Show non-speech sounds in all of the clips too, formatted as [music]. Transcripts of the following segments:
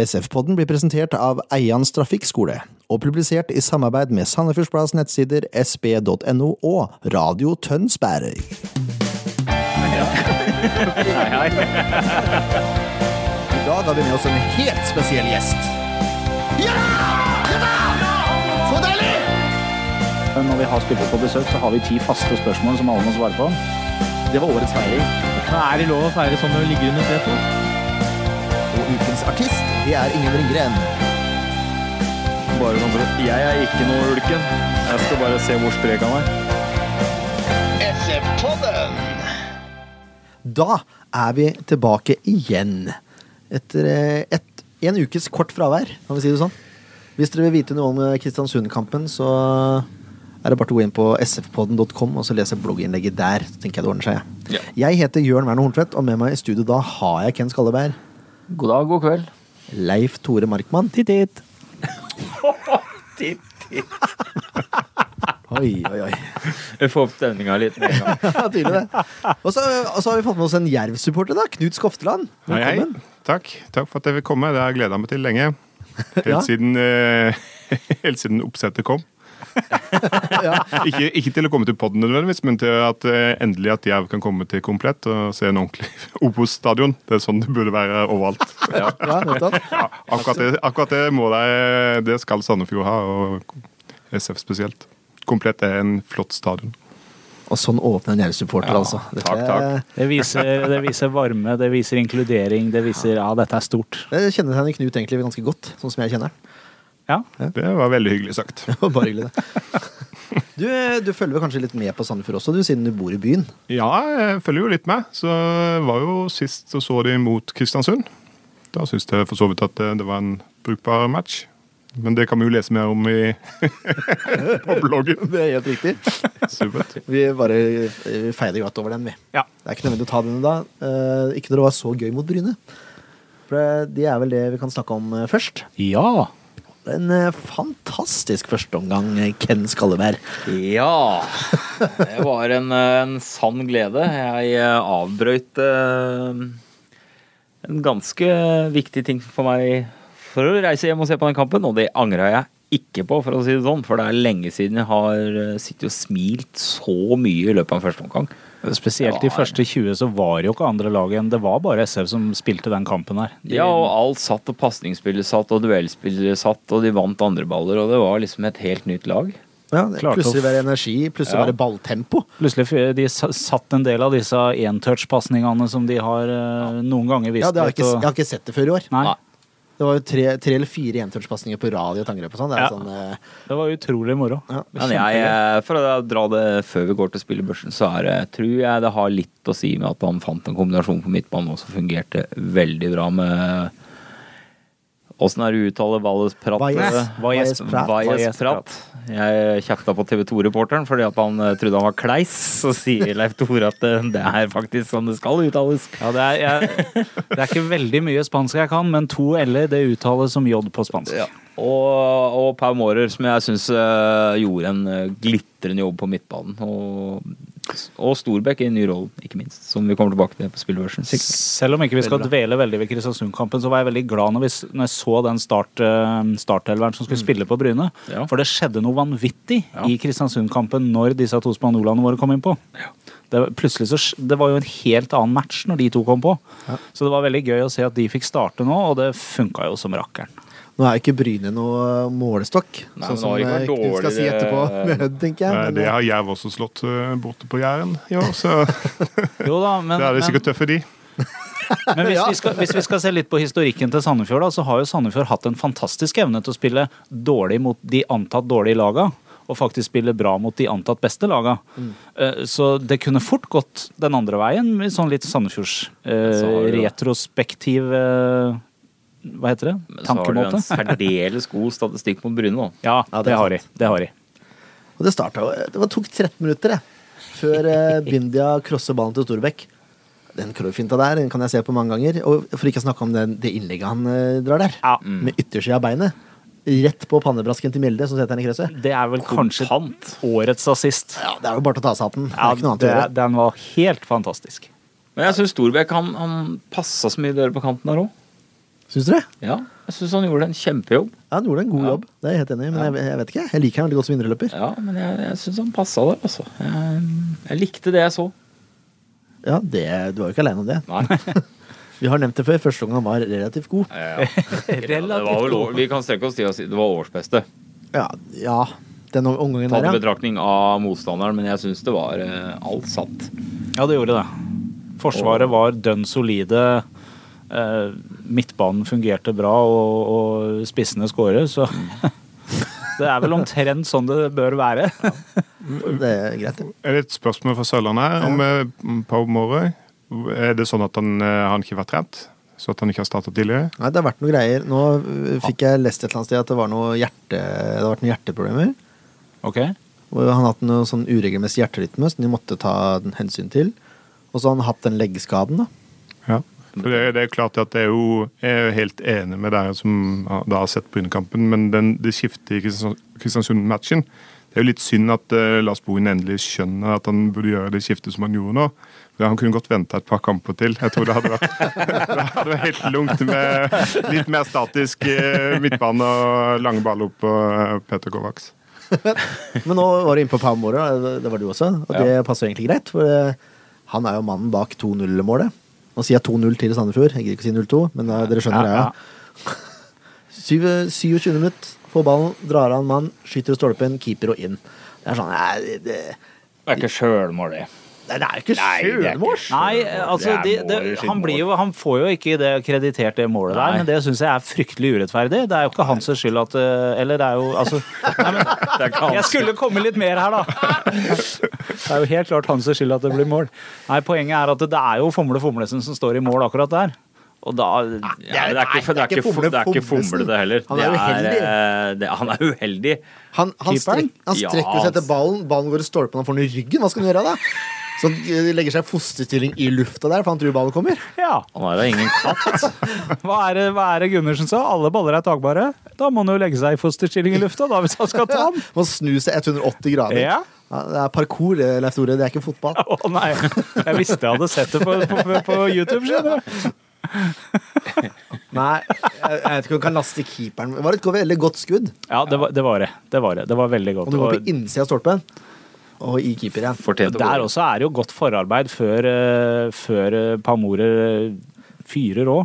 SF-podden blir presentert av Eians Trafikkskole og publisert i samarbeid med Sandefjordsplass nettsider sb.no og Radio Tønsberg. I dag har vi med oss en helt spesiell gjest. Men Eh, når vi har spillere på besøk, så har vi ti faste spørsmål som alle må svare på. Det var årets feiring. Men er det lov å feire sånn når du ligger under setet? Og ukens artist, det er Ingen Ringgren. Bare sånn for at Jeg er ikke noe ulken. Jeg skal bare se hvor sprek han er. Da er vi tilbake igjen. Etter eh, et, en ukes kort fravær, kan vi si det sånn. Hvis dere vil vite noe om eh, Kristiansund-kampen, så er det bare til å gå inn på sfpodden.com og så lese blogginnlegget der. Så tenker jeg det ordner seg. jeg. Jeg heter Jørn Werner Horntvedt, og med meg i studio da har jeg Ken Skalleberg. God dag, god kveld. Leif Tore Markmann. Titt, [laughs] titt. Oi, oi, oi. Jeg får opp stemninga litt med en gang. Ja, tydelig det. Og så, og så har vi fått med oss en Jerv-supporter, da. Knut Skofteland. Hei, hei. Velkommen. Takk. Takk for at jeg vil komme. Det har jeg gleda meg til [laughs] lenge. Helt, Ja. siden, eh, [laughs] helt siden oppsettet [laughs] kom. ikke, ikke til å komme til podden nødvendigvis, men til at eh, endelig at jeg kan komme til komplett og se en ordentlig [laughs] Obos-stadion. Det er sånn det burde være overalt. Ja, nettopp. Ja, [laughs] akkurat, det, akkurat det må de Det skal Sandefjord ha, og SF spesielt. Komplett er en flott stadion. Og sånn åpner en Jerv-supporter, altså. Dette, takk, takk. Det viser, det viser varme, det viser inkludering, det viser ja, dette er stort. Det kjennetegner Knut egentlig ganske godt, sånn som jeg kjenner han. Ja. Det var veldig hyggelig sagt. Det var [laughs] Bare hyggelig, det. Du, du følger vel kanskje litt med på Sandefjord også, du, siden du bor i byen? [laughs] Ja, jeg følger jo litt med. Så jeg var jo sist og så de mot Kristiansund. Da syns jeg for så vidt at det var en brukbar match. Men det kan vi jo lese mer om i [laughs] på bloggen. Det er helt riktig. Supert. Vi bare eh, feide glatt over den, vi. Ja. Det er ikke nødvendig å ta den da. Eh, Ikke når det var så gøy mot Bryne. For det er vel det vi kan snakke om eh, først. Ja. En eh, fantastisk førsteomgang, eh, Ken Skalleberg. Ja. Det var en, eh, en sann glede. Jeg eh, avbrøt eh, en ganske viktig ting for meg for å reise hjem og se på den kampen, og det angra jeg ikke på, for å si det sånn. For det er lenge siden jeg har eh, sittet og smilt så mye i løpet av en første omgang. Spesielt Det de var- første 20 så var jo ikke andre lag igjen. Det var bare SF som spilte den kampen her. De- Ja, og alt satt, og pasningsspillet satt, og duellspillet satt, og de vant andre baller, og det var liksom et helt nytt lag. Ja, det- Klarte å plutselig f- være energi, plutselig Ja. være balltempo. Plutselig f- de s- satt en del av disse entouch-pasningene som de har eh, noen ganger vist Ja, det har jeg, ikke, litt, og- jeg har ikke sett det før i år. Nei, Det var jo tre, tre eller fire entouchpasninger på rad i et angrep og sånn. Det er Ja. sånn eh, det var utrolig moro. Ja. Men jeg, eh, for å dra det før vi går til spillebørsen, så er det, tror jeg det har litt å si med at han fant en kombinasjon på midtbanen også fungerte veldig bra med Åssen er det du uttaler Valles Pratt? Valles- Valles Valles Pratt. Valles Valles Pratt. Pratt. Jeg kjefta på TV 2-reporteren fordi at han eh, trodde han var kleis. Så sier Leif Tore at eh, det er faktisk sånn det skal uttales. Ja, det, er, jeg, det er ikke veldig mye spansk jeg kan, men to l-er det uttales som j på spansk. Og, og Per Mårer, som jeg syns gjorde en eh, glitrende jobb på midtbanen. Og, og Storbekk i en ny rolle, ikke minst, som vi kommer tilbake til på spillbørsen. Selv om ikke vi skal dvele veldig ved Kristiansund-kampen, så var jeg veldig glad når, vi, s- når jeg så den start, eh, startelveren som skulle spille på Bryne. Ja. For det skjedde noe vanvittig Ja. i Kristiansund-kampen når disse to spanjolene våre kom inn på. Det, var- plutselig så, sk- det var jo en helt annen match når de to kom på. Så det var veldig gøy å se at de fikk starte nå, og det funka jo som rakkeren. Nå er jo ikke Bryne noe målestokk, Nei, sånn men det har som ikke eh, vært Knut skal si etterpå, dårligere- tenker jeg. Nei, Men, Det eh, har Jerv også slått eh, borte på Jæren i år, så Jo da, men, da er de men- sikkert tøffe, de. Men hvis vi, skal, hvis vi skal se litt på historikken til Sandefjord, da, så har jo Sandefjord hatt en fantastisk evne til å spille dårlig mot de antatt dårlige laga, og faktisk spille bra mot de antatt beste laga. Mm. Eh, Så det kunne fort gått den andre veien, med sånn litt Sandefjords eh, Så har du- retrospektiv eh, Hva heter det? Men så har de en Tankemåte? særdeles god statistikk mot Bryne, da. Ja, Ja, det er det har de. Det har de. og det starta jo Det var, tok 13 minutter, det, før [laughs] eh, Bindia crosser ballen til Storbekk. Den crowfinta der den kan jeg se på mange ganger. Og for ikke å snakke om den, det innlegget han eh, drar der, Ja. Mm. med yttersida av beinet. Rett på pannebrasken til Mjelde, som setter han i krysset. Det er vel kanskje Kontant. årets assist. Ja, det er jo bare til å ta seg av den. Det Ja, er ikke noe annet å det, gjøre. den var helt fantastisk. Men jeg syns Storbekk han, han passa så mye dører på kanten der òg. Syns dere? Ja, jeg syns han gjorde en kjempejobb. Ja, han gjorde en god Ja. jobb. Det er jeg helt enig i, men jeg, jeg vet ikke. Jeg liker han veldig godt som indreløper. Ja, men jeg, jeg syns han passa der, altså. Jeg, jeg likte det jeg så. Ja, det, du var jo ikke alene om det. [laughs] Nei. Vi har nevnt det før. Første gang han var relativt god. det var vel, år- vi kan strekke oss til å si det var årsbeste. Ja, ja den omgangen Tatt i der, ja. betraktning av motstanderen, men jeg syns det var eh, alt satt. Ja, det gjorde det. Forsvaret var dønn solide. eh, Midtbanen fungerte bra, og, og spissene skårer, så [laughs] Det er vel omtrent sånn det bør være. Det er greit. det. Er det et spørsmål fra Sørlandet her om eh, Pau Mårøy? Er det sånn at han, eh, han ikke har vært trent? Så at han ikke har startet tidligere? Nei, det har vært noen greier. Nå øh, fikk jeg lest et eller annet sted at det var noe hjerte... Det har vært noen hjerteproblemer. Ok? Og han har hatt noe sånn uregelmessig hjerterytme som de måtte ta den hensyn til. Og så har han hatt den leggskaden, da. Ja. For det, det er klart at det er jo, jeg er jo helt enig med dere som har- da har sett Brynekampen, men den, det skiftet i Kristians- Kristiansund-matchen Det er jo litt synd at eh, Lars Bohin endelig skjønner at han burde gjøre det skiftet som han gjorde nå. For Han kunne godt venta et par kamper til. Jeg tror det hadde vært, [laughs] det hadde vært helt lungt med litt mer statisk eh, midtbane og lange baller opp på eh, Peter Kovács. Men nå var du inne på Palmore, det var du også, og det passer egentlig greit. For eh, han er jo mannen bak 2-0-målet. Nå sier jeg 2-0 til Sandefjord, jeg gidder ikke å si 0-2, men eh, dere skjønner Ja, greia. [laughs] Syv- 27 minutt, får ballen, drar av en mann, skyter i stolpen, keeper og inn. Det er sånn Nei, det, det, Det er ikke sjølmål, det. det er jo ikke Nei, det er ikke- sjølmåls! Nei, Det altså de, er det, målet sitt han, blir jo, han får jo ikke det kreditert det Nei. målet der, men det syns jeg er fryktelig urettferdig. Det er jo ikke hans skyld at eh, Eller det er jo altså nei, [laughs] men, Det er ikke Jeg hans skulle komme litt mer her, da! Det er jo helt klart hans skyld at det blir mål. Nei, poenget er at det er jo Fomle Fomlesen som står i mål akkurat der. Og da ja, men det, er ikke, det, er ikke, fomle, det er ikke fomle, det heller. Han er Det uheldig. eh, det, han er uheldig. Han, han, Keeperen? strek, han Ja, strekker seg etter altså. ballen, ballen går i stolpen, han får den i ryggen. Hva skal han gjøre da? Så han eh, legger seg i fosterstilling i lufta der, for han tror ballen kommer. Ja. Han er da ingen katt. Hva er det, hva er det Gundersen sa? Alle baller er tagbare. Da må han jo legge seg i fosterstilling i lufta, da, hvis han skal ta den. Må snu seg 180 grader. [laughs] Ja. det er parkour, det, Leif Tore. Det er ikke fotball. Å nei, jeg visste jeg hadde sett det på, på, på YouTube, skjønner du. Nei, jeg, jeg vet ikke om du kan laste keeperen. Det var et veldig godt skudd. Ja, det var det. Var det. det, var det. det var veldig godt. Og du går Og på innsida av stolpen, og i keeper igjen. Fortjent å gå. der også er det jo godt forarbeid før, eh, før eh, Pamore fyrer òg.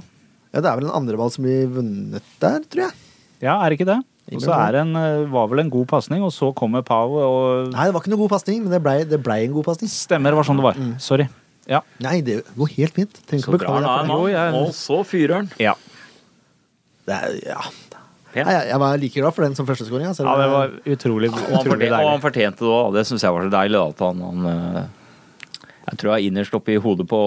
Ja, det er vel en andreball som blir vunnet der, tror jeg. Ja, er det ikke det? Og så Ingen er det en, eh, var vel en god pasning, og så kommer Pau og Nei, det var ikke noe god pasning, men det blei det ble en god pasning. Stemmer, var sånn det var. Mm. Sorry. Ja. Nei, det går helt fint. Trenger ikke Så å drar beklage han av deg en for det. Jo, jeg- mann, og så fyrer han. ja. det. er- Ja. Pent. Nei, jeg, jeg var like glad for den som førsteskåringa. ja, det var utrolig, Og han, fortjente, utrolig og han deilig. fortjente det òg. Det syns jeg var så deilig. da, At han, han eh, Jeg tror jeg innerst oppe i hodet på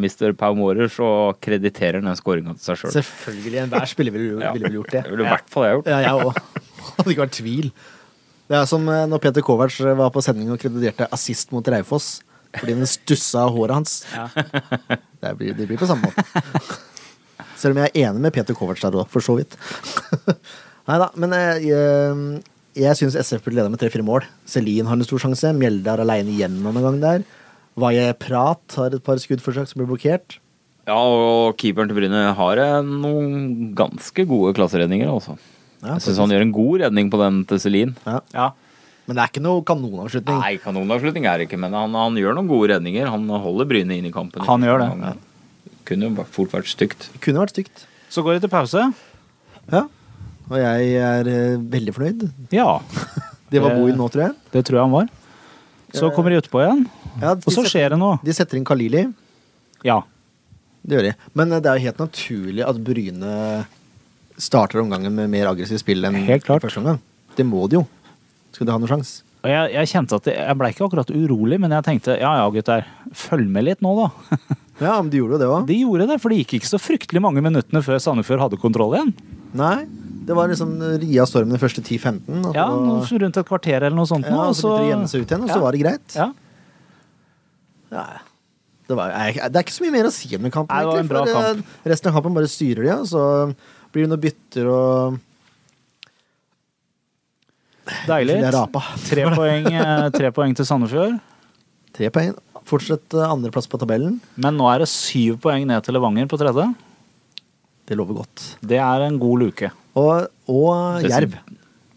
Mr. Pau Mårer, så krediterer han den skåringa til seg sjøl. Selvfølgelig. Enhver spiller ville, ville vel gjort det. Det ville i hvert fall jeg gjort. Ja, jeg òg. [laughs] Hadde ikke vært tvil. Det er som eh, når Peter Kovac var på sending og krediterte assist mot Raufoss fordi den stussa av håret hans. [laughs] Det, blir, det blir på samme måte. [laughs] Selv om jeg er enig med Peter Kovac der òg, for så vidt. [laughs] Nei da, men eh, jeg, jeg syns SF burde leda med tre-fire mål. Selin har en stor sjanse. Mjelde er aleine gjennom en gang der. Vaje Prat har et par skuddforsøk som blir blokkert. Ja, og keeperen til Bryne har eh, noen ganske gode klasseredninger, altså. Ja, Jeg syns han gjør en god redning på den til Celine. Ja. Ja. Men det er ikke noe kanonavslutning. Nei, kanonavslutning er det ikke, men han, han gjør noen gode redninger. Han holder Bryne inn i kampen. Han gjør det. Han Kunne jo fort vært stygt. Det kunne vært stygt. Så går det til pause. Ja. Og jeg er eh, veldig fornøyd. Ja, Det var Det- Bohin nå, tror jeg. det tror jeg han var. Så kommer de utpå igjen, Ja, de og så setter- skjer det noe. De setter inn Kalili. Ja. Det gjør de. Men eh, det er jo helt naturlig at Bryne starter omgangen med mer aggressivt spill enn Helt klart. første omgang. Det må de jo. Skal de ha noen sjanse. Og jeg, jeg kjente at det, jeg ble ikke akkurat urolig, men jeg tenkte ja ja, gutter, følg med litt nå, da. Ja, men de gjorde jo det òg. De gjorde det, for det gikk ikke så fryktelig mange minuttene før Sandefjord hadde kontroll igjen. Nei. Det var liksom ria stormen de første 10-15. og så- Ja, noe så Rundt et kvarter eller noe sånt. ja, nå, og og så begynte de å gjemme seg ut igjen, og så Ja. var det greit. ja. Nei. Det, var, nei, det er ikke så mye mer å si om den kampen. Nei, det var en egentlig, for, bra eh, Resten av kampen bare styrer de, og så blir det noen bytter og Deilig. Jeg rapa. Tre poeng, eh, tre poeng til Sandefjord. Tre poeng. Fortsatt eh, andreplass på tabellen. Men nå er det syv poeng ned til Levanger på tredje. Det lover godt. Det er en god luke. Og, og Det er Jerv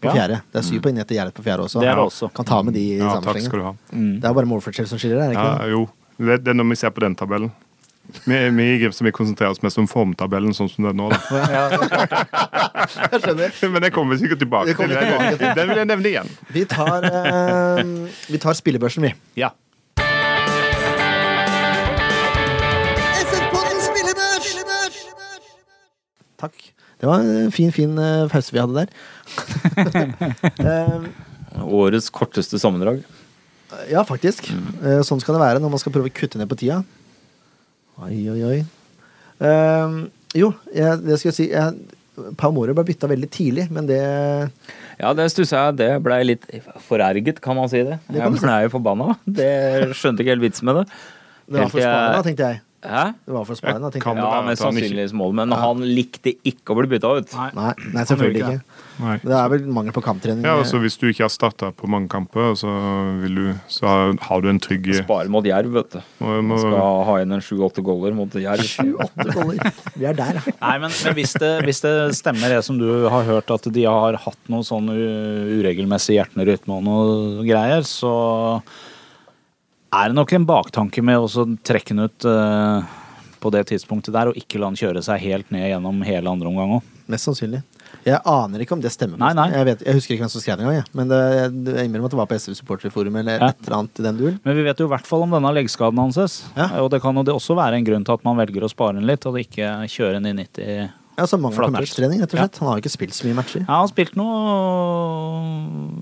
på Ja. fjerde. Det er syv poeng ned til Jerv på fjerde også. Det er det også. Kan ta med de i Ja, takk skal sammenhengen. du ha. Det er bare målforskjell som skiller, er det Ja, ikke det? jo, det, det er når vi ser på den tabellen. Vi, vi i Grimstad vi konsentrerer oss mest om formtabellen sånn som det er nå. Da. [laughs] Jeg skjønner. [laughs] Men den kommer vi sikkert tilbake Det kommer til. vi tilbake til. Den vil jeg nevne igjen. Vi tar, eh, vi tar spillebørsen, vi. Ja. Takk. Det var en fin, fin eh, pause vi hadde der. Eh, Årets korteste sammendrag. ja, faktisk. Eh, sånn skal det være når man skal prøve å kutte ned på tida. Oi, oi, oi. Eh, jo, jeg, det skal jeg si jeg, Paumore ble bytta veldig tidlig, men det Ja, det stussa jeg. Det blei litt forerget, kan man si det. Det kan du Jeg blei forbanna. Det skjønte ikke helt vits med det. Det var Helt for til jeg- Spania, tenkte jeg. Hæ? Det var for Spania, Jeg tenkte kan- jeg. Ja, være mest at han ikke- sannsynligvis mål, men han likte ikke å bli bytta ut. Nei. Nei, nei selvfølgelig Han gjorde ikke. Det er vel mangel på kamptrening. Ja, altså Hvis du ikke har starta på mange kamper, så, vil du, så har- har du en trygg Spare mot Jerv, vet du. må, Han må, skal ha igjen en sju-åtte goller mot Jerv. Sju-åtte goller. Vi er der, ja. Nei, men, men hvis, det, hvis det stemmer det som du har hørt, at de har hatt noe sånn u- uregelmessig hjerterytme og noe greier, så er det nok en baktanke med å så trekke den ut eh, på det tidspunktet der, og ikke la den kjøre seg helt ned gjennom hele andre omgang òg. Mest sannsynlig. Jeg aner ikke om det stemmer. Nei, nei. Jeg, vet, jeg husker ikke hvem som skrev det engang, jeg. men det, jeg jeg innbiller meg at det var på SV Supporterforum eller Ja. et eller annet i den duren. Men vi vet jo i hvert fall om denne leggskaden hans. Ja. Og det kan jo det også være en grunn til at man velger å spare den litt, og ikke kjøre den i 90 Ja, så mangel på Flatter. matchtrening, rett og slett. Han har jo ikke spilt så mye matcher. Ja, han spilte noe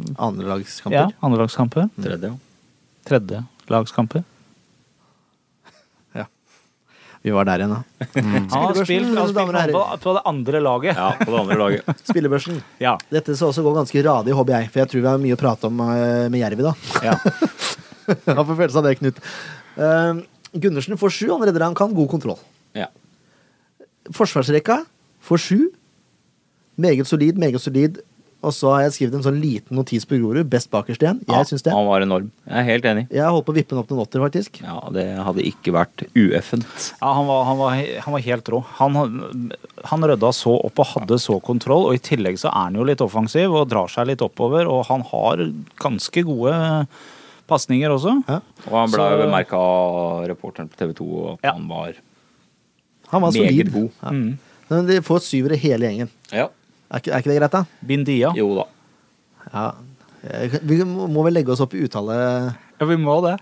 ja, Andrelagskamper. andrelagskamper. Tredje, ja. Tredjelagskamper. Vi var der igjen, da. Han har Spillebørsen, spilt, han har spilt damer og herrer. håndball på det andre laget. Ja, på det andre laget. [laughs] Spillebørsen. Ja. Dette skal også gå ganske radig, håper jeg, for jeg tror vi har mye å prate om eh, med Jervi, da. [laughs] Ja. Han får følelse av det, Knut. Eh, Gundersen får sju, han redder det han kan. God kontroll. Ja. Forsvarsrekka får sju. Meget solid, meget solid. Og så har jeg skrevet en sånn liten notis på Grorud. Best bakerst igjen. Jeg syns det. Han var enorm. Jeg er helt enig. Jeg holdt på å vippe den opp til en åtter, faktisk. Ja, det hadde ikke vært ueffent. han, var, han, var, han var helt rå. Han, han rydda så opp og hadde så kontroll, og i tillegg så er han jo litt offensiv og drar seg litt oppover, og han har ganske gode pasninger også. Ja. Og han ble Så- bemerka av reporteren på TV 2 at Ja. han var Han var meget solid. god. Ja. Men de får syvere hele gjengen. Ja. Er ikke, er ikke det greit, da? Bindia. Jo da. Ja. Eh, Vi må må vel legge oss opp i uttale... Ja, vi må det.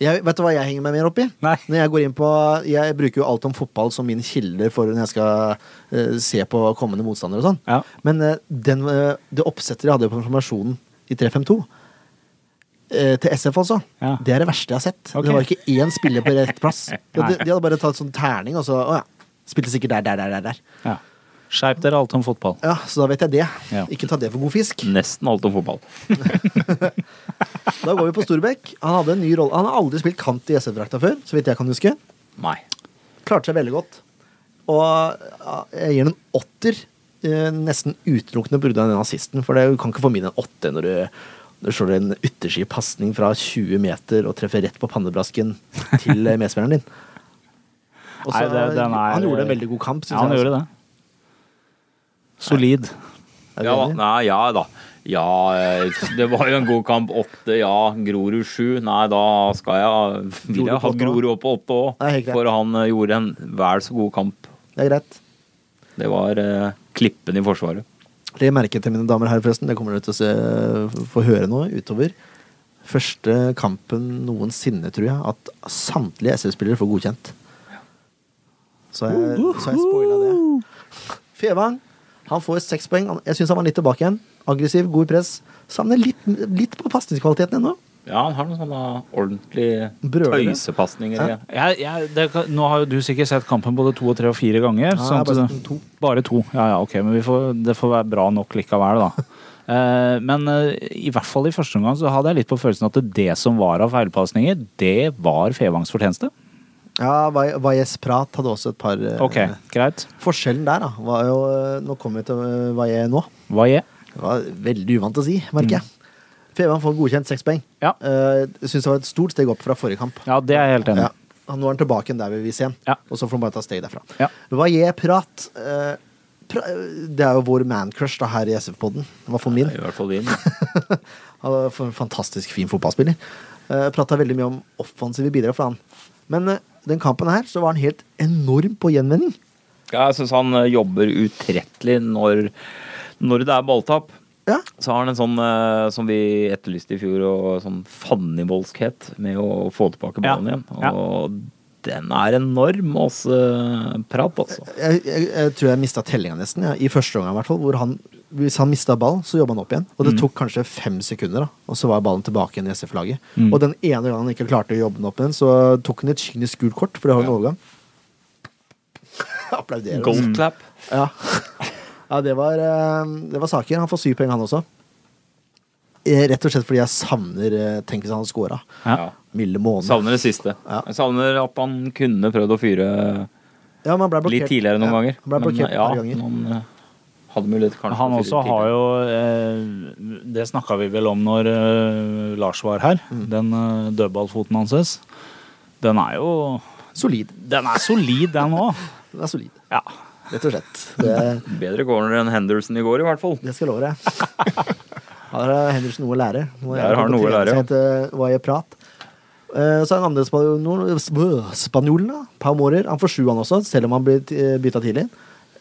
Jeg, vet du hva jeg henger meg mer opp i? Nei. Når Jeg går inn på Jeg bruker jo alt om fotball som min kilde for når jeg skal eh, se på kommende motstandere og sånn. Ja. Men eh, den, eh, det oppsettet jeg hadde på informasjonen i 352 eh, til SF, altså. Ja. Det er det verste jeg har sett. Ok. Det var ikke én spiller på rett [laughs] plass. De, de, de hadde bare tatt sånn terning, og så Å ja. Spilte sikkert der, der, der, der. der. Ja. Skjerp dere alt om fotball. Ja, så da vet jeg det. Ja. Ikke ta det for god fisk. Nesten alt om fotball. Da går vi på Storbekk. Han hadde en ny rolle. Han har aldri spilt kant i SF-drakta før, så vidt jeg kan huske. Nei. klarte seg veldig godt. Og ja, jeg gir den en åtter, eh, nesten utelukkende pga. den assisten. For det, du kan ikke få mindre enn åtte når du, når du slår en ytterski pasning fra 20 meter og treffer rett på pannebrasken til eh, medspilleren din. Og så, Nei, det- den er- han gjorde en veldig god kamp, altså. Ja, han gjorde det. Solid. Er du Ja da. enig? Nei, ja da. Ja, eh, det var jo en god kamp. Åtte, ja. Grorud sju. Nei, da skal jeg Vil jeg ha Grorud på åtte Grorud opp på åtte Nei, helt òg. greit. For han eh, gjorde en vel så god kamp. Det er greit. Det var eh, klippen i Forsvaret. Det merket jeg til mine damer her, forresten. Det kommer dere til å se, få høre nå utover. Første kampen noensinne, tror jeg, at samtlige SS-spillere får godkjent. Så jeg, så jeg spoila det. Fevang han får seks poeng. Han- Jeg syns han var litt tilbake igjen. Aggressiv, god i press. Savner litt, litt på pasningskvaliteten ennå. Ja, han har noen sånne ordentlige Brølere. tøysepasninger. Ja. Jeg, jeg, det, kan- nå har jo du sikkert sett kampen både to og tre og fire ganger. Ja, sånn jeg har bare at- sett den to. Bare to. Ja, ja, ok, men vi får, det får være bra nok likevel, [laughs] da. Eh, men eh, i hvert fall i første omgang så hadde jeg litt på følelsen at det som var av feilpasninger, det var Fevangs fortjeneste. Ja, Valles Prat hadde også et par eh, Ok, greit. Forskjellen der, da, var jo eh, Nå kommer vi til eh, Valles nå. Hva gjør Det var veldig uvant å si, merker jeg. Fevang får godkjent seks poeng. Mm. Ja. Eh, Jeg Syns det var et stort steg opp fra forrige kamp. Ja, det er jeg helt enig i. Ja. Og nå er han tilbake igjen der vi vil se ham. Ja. Og så får han bare ta steg derfra. Ja. Vaje Prat eh, pra, Det er jo vår mancrush da, her i SF-podden. Den var for min. I hvert fall din. [laughs] Han var en fantastisk fin fotballspiller. Uh, Prata veldig mye om offensive bidrag for han. Men eh, den kampen her så var han helt enorm på gjenvinning. Ja, jeg syns han eh, jobber utrettelig når, når det er balltap. Ja. Så har han en sånn eh, som vi etterlyste i fjor, og sånn fannivoldskhet med å få tilbake Ja. ballen igjen. Ja. Og den er enorm, også eh, prat, altså. Jeg, jeg, jeg tror jeg mista tellinga nesten, ja. i første omgang i hvert fall. Hvor han, hvis han mista ball, så jobba han opp igjen. Mm. Og det tok kanskje fem sekunder, da. Og så var ballen tilbake igjen i SF-laget. Mm. Og den ene gangen han ikke klarte å jobbe den opp igjen, så tok han et kynisk gult kort, for det har en overgang. [laughs] Applauderer. altså. Goldclap. Ja. [laughs] ja det, var, eh, det var saker. Han får syv poeng, han også. Eh, Rett og slett fordi jeg savner eh, Tenk hvis han hadde scora. Ja. Ja. Milde måne. Savner det siste. Ja. Jeg savner at han kunne prøvd å fyre Ja, men han ble litt blokkert. tidligere noen Ja, ganger. Han ble blokkert et ja, par ganger. han eh, hadde mulighet kanskje Han til å fyre også litt har tidligere. jo eh, Det snakka vi vel om når eh, Lars var her. Mm. Den eh, dødballfoten hans. Den er jo Solid. Den er solid, den [laughs] òg. Den er solid, Ja. rett og slett. Det, Bedre corner enn Henderson i går, i hvert fall. det skal jeg love deg. [laughs] Her har Henderson noe å lære. Nå er Der har han på noe å trening lære, som ja. heter Hva jeg prat. Eh, Så er den andre spanjolen, sp- spanjolen da, Pau Mårer. Han får sju, han også, selv om han blir eh, bytta tidlig.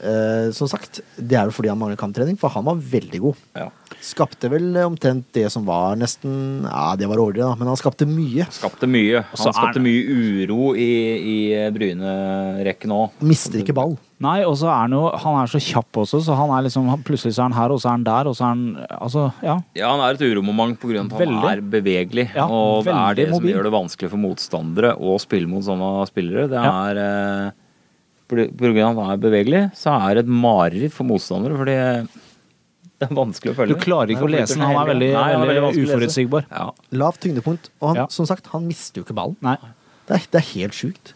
Eh, Som sagt, det er jo fordi han mangler kamptrening, for han var veldig god. Ja. Skapte vel eh, omtrent det som var nesten Ja, det var ordre, da, men han skapte mye. Skapte mye. så er Han skapte det- mye uro i, i Bryne-rekken òg. Mister ikke ball. Nei, og så er han jo Han er så kjapp også, så han er liksom han- Plutselig så er han her, og så er han der, og så er han Altså, ja. Ja, han er et uromoment pga. at han Veldig. er bevegelig. Ja, og det veldig er det som mobil. gjør det vanskelig for motstandere å spille mot sånne spillere. Det Ja. er eh, pl- på grunn av at han er bevegelig, så er det et mareritt for motstandere. Fordi det er vanskelig å Du følge. klarer ikke å Nei, lese den. Han er veldig, Nei, han er veldig veldig vanskelig å lese. uforutsigbar. Ja. Lavt tyngdepunkt. Og han, Ja. som sagt, han mister jo ikke ballen. Nei. Det er, det er helt sjukt.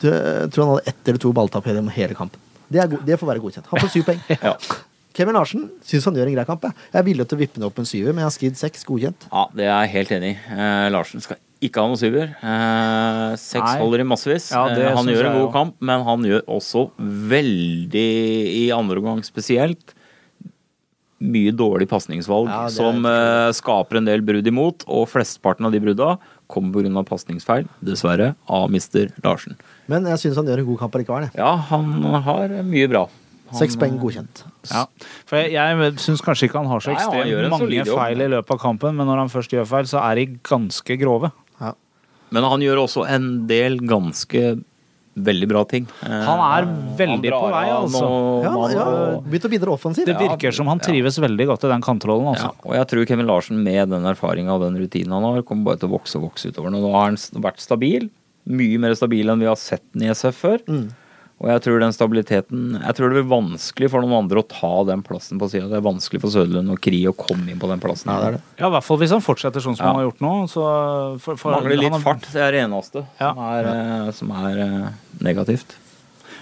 Du, jeg tror han hadde ett eller to balltap gjennom hele kampen. Det, er go- det får være godkjent. Han får syv [laughs] poeng. Ja. Kevin Larsen syns han gjør en grei kamp. Jeg, jeg er villig til å vippe den opp en syver, men jeg har skrevet seks. Godkjent. ja, det er jeg helt enig i. Eh, Larsen skal ikke ha noen syver. Eh, seks Nei. holder i massevis. Ja, eh, det han synes gjør jeg en god også. kamp, men han gjør også veldig, i andre omgang spesielt, mye dårlig pasningsvalg Ja, det er som helt eh, skaper en del brudd imot, og flesteparten av de brudda kommer pga. pasningsfeil, dessverre, av mister Larsen. Men jeg syns han gjør en god kamp allikevel. jeg. Ja, han har mye bra. Han, Seks poeng godkjent. Ja. For jeg, jeg syns kanskje ikke han har så Nei, han gjør ekstremt en solid mange jobb. feil i løpet av kampen, men når han først gjør feil, så er de ganske grove. Ja. Men han gjør også en del ganske veldig bra ting. Eh, Han er veldig på vei, altså. Ja, ja, Begynt å bidra offensivt. Det virker som han trives veldig godt i den Ja, kantrollen, altså. og jeg tror Kevin Larsen med den erfaringa og den rutinen han har, kommer bare til å vokse og vokse utover. Nå har han s- vært stabil, mye mer stabil enn vi har sett den i SF før. Mm. Og jeg tror den stabiliteten Jeg tror det blir vanskelig for noen andre å ta den plassen på sida. Det er vanskelig for Søderlund og Kri å komme inn på den plassen. Ja, det er det. Ja, i hvert fall hvis han fortsetter sånn som Ja. han har gjort nå. Så for, for, Mangler han litt har- fart, det er det eneste Ja. som er, eh, som er eh, negativt.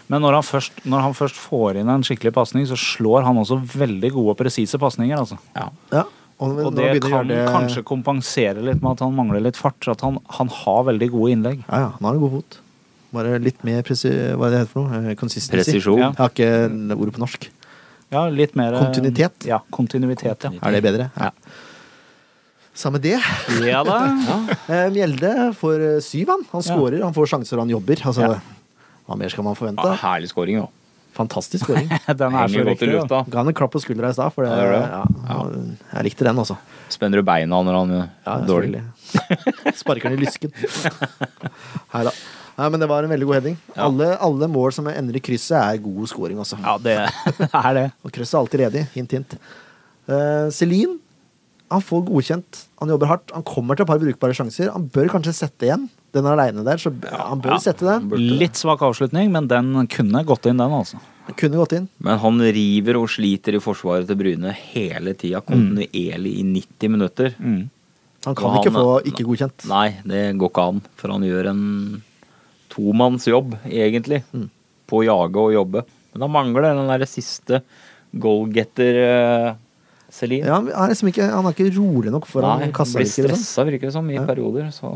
Men når han, først, når han først får inn en skikkelig pasning, så slår han også veldig gode og presise pasninger. Altså. Ja. Ja. Og, når han Og det begynner å gjøre kan kanskje kompensere litt med at han mangler litt fart. Så at han, han har veldig gode innlegg. Ja, ja, han har en god fot. Bare litt mer presi... Hva er det heter for noe? Eh, Consistency. Presisjon. Jeg har ikke ordet på norsk. Ja, litt mer eh, Kontinuitet? Ja, kontinuitet, ja. Er det bedre? Ja. Samme det. Ja da. Eh, Mjelde får eh, syv, han. Han scorer, han får sjanser, han jobber. Altså, Hva mer skal man Ja, forvente? herlig scoring, da. Fantastisk scoring. [laughs] Den er så Henger godt i riktig. da. lufta. Ga han en klapp på skuldra i stad, for det, Ja, gjør det. ja, han- jeg likte den, altså. Spenner du beina når han gjør Ja, dårlig? selvfølgelig. [laughs] Sparker den i lysken. Nei da. Nei, men det var en veldig god heading. Alle, alle mål som ender i krysset, er god scoring, altså. Ja, det [laughs] [laughs] er det. Og krysset er alltid ledig. Hint, hint. Eh, Celine han får godkjent. Han jobber hardt. Han kommer til et par brukbare sjanser. Han bør kanskje sette igjen. Den er aleine der, så b- han bør ja. sette den. Burde det. Litt svak avslutning, men den kunne gått inn, den, altså. Kunne gått inn. Men han river og sliter i forsvaret til Bryne hele tida, kontinuerlig i 90 minutter. Han kan Og ikke han- eh, få ikke godkjent. Nei, det går ikke an, for han gjør en tomannsjobb, egentlig. På å jage og jobbe. Men han mangler den derre siste goalgetter eh, Celine. Ja, han, er liksom ikke, han er ikke liksom. rolig nok foran Nei, han kassa. blir virker det som. stressa, virker det som, i Ja. perioder. Så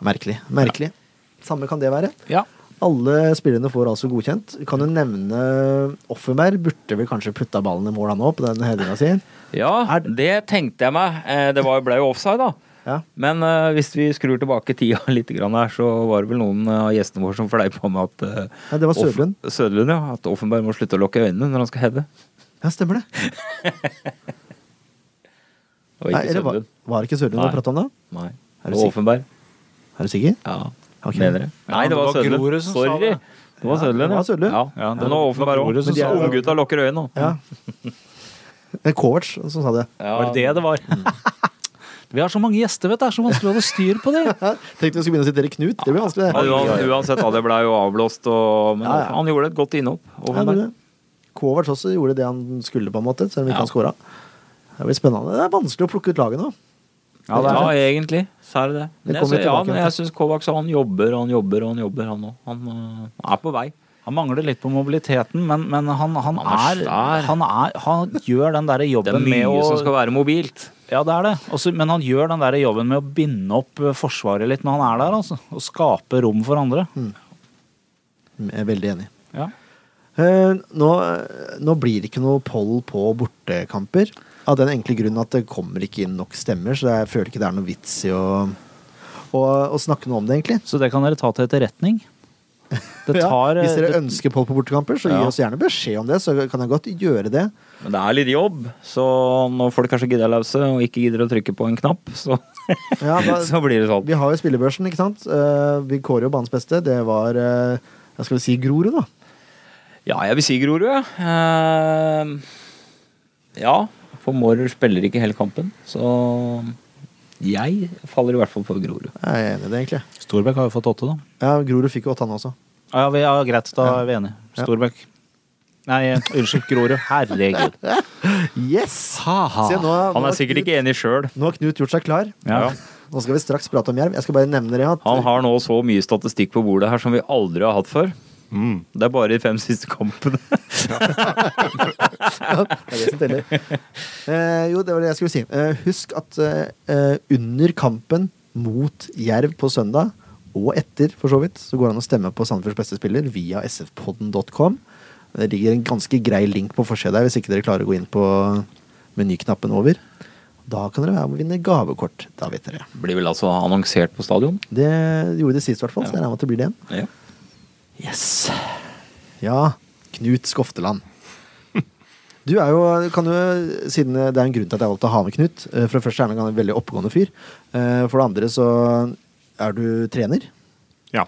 Merkelig. Merkelig. Samme kan det være. Ja. Alle spillerne får altså godkjent. Vi Kan jo nevne Offenberg. Burde vel kanskje putta ballen i mål han òg, på den headinga si. Ja, Er- det tenkte jeg meg. Eh, Det var, ble jo offside, da. Ja. Men eh, hvis vi skrur tilbake tida [laughs] litt grann her, så var det vel noen eh, av gjestene våre som fleip på med at eh, Ja, det var Sødlund. Off- Sødlund, ja. At Offenberg må slutte å lukke øynene når han skal heade. Ja, stemmer det. Og ikke Nei, eller var, Sødlund. var det ikke Sørlund du Nei. prata om det? Nei. Er du Det var sikker? Offenberg. Er du sikker? Ja. Ok. Mener jeg. Nei, det var det var Sødlund. Grorud som sa Sorry. Det var det. Ja, det Sødlund, var Sødlund. ja. Ja, det Men nå var- Offenberg det var Grorud òg. som sa det. Unggutta lukker øynene. nå. Ja. [laughs] Det er Kovac som sa det. Ja. Mm. Var det det det var? [laughs] Vi har så mange gjester, vet du. Det er så vanskelig å holde styr på det. Ja, Tenkte vi skulle begynne å sitere Knut. Det blir vanskelig, Ja, det. uan- Uansett, da, det ble jo avblåst, og, men Ja, ja. han gjorde et godt innhopp. Ja, men Offenberg. det- Kovac også gjorde det han skulle, på en måte, selv om ikke Ja. han scora. Det blir spennende. Det er vanskelig å plukke ut laget nå. [laughs] Ja, det er det. egentlig. Så er det det. Men jeg, kommer sy- vi ja, tilbake men til. jeg syns Kovacs han jobber og han jobber og han jobber, han òg. Han øh, er på vei. Han mangler litt på mobiliteten, men, men han, han, Han er er, svær. han, er, han gjør den Det derre er jobben mye med å som skal være mobilt. Ja, det er det. Også, men han gjør den derre jobben med å binde opp eh, Forsvaret litt når han er der, altså. Og skape rom for andre. Mm. Jeg er veldig enig. Ja. Eh, Nå, eh, nå blir det ikke noe poll på bortekamper. Av den enkle grunnen at det kommer ikke inn nok stemmer, så jeg føler ikke det er noe vits i å, å, å snakke noe om det, egentlig. Så det kan dere ta til [laughs] etterretning. Det tar ja, eh, hvis dere det- eh, ønsker poll på bortekamper, så gi Ja. oss gjerne beskjed om det, så kan jeg godt gjøre det. Men det er litt jobb, så når folk er så gidda lause og ikke gidder å trykke på en knapp, så, [laughs] Ja, [laughs] da, [laughs] så blir det sånn. Vi har jo spillebørsen, ikke sant? Eh, vi kårer jo banens beste. Det var eh, jeg skal vel si Grorud, da. Ja, jeg vil si Grorud, jeg. Ehm, ja, for Mårer spiller ikke hele kampen, så jeg faller i hvert fall på Grorud. Jeg er enig i det, egentlig. Storbekk har jo fått åtte, da. Ja, Grorud fikk jo åtte, han også. Ja, vi, ja greit. Da er vi enige. Ja. Storbekk. Nei, eh, unnskyld, Grorud. Herregud. Yes! Ha-ha. Se, nå, Han nå er sikkert ikke enig sjøl. Knut, Nå har Knut gjort seg klar. [laughs] Ja. Nå skal vi straks prate om Jerv. Jeg skal bare nevne det at Han [laughs] har nå så mye statistikk på bordet her som vi aldri har hatt før. Mm. Det er bare de fem siste kampene. Det er det som teller. Eh, jo, det var det jeg skulle si. Eh, husk at eh, eh, under kampen mot Jerv på søndag, og etter for så vidt, så går det an å stemme på Sandefjords beste spiller via sfpodden.com. Det ligger en ganske grei link på forsida her, hvis ikke dere klarer å gå inn på menyknappen over. Da kan dere være med å vinne gavekort. Da vet dere. [laughs] Blir vel altså annonsert på stadion? Det gjorde det sist, i hvert fall, så jeg regner med at det blir det igjen. Ja. Yes. Ja, Knut Skofteland. Du er jo, kan jo, siden det er en grunn til at jeg valgte å ha med Knut eh, For det første er han en veldig oppegående fyr. Eh, For det andre så er du trener. Ja.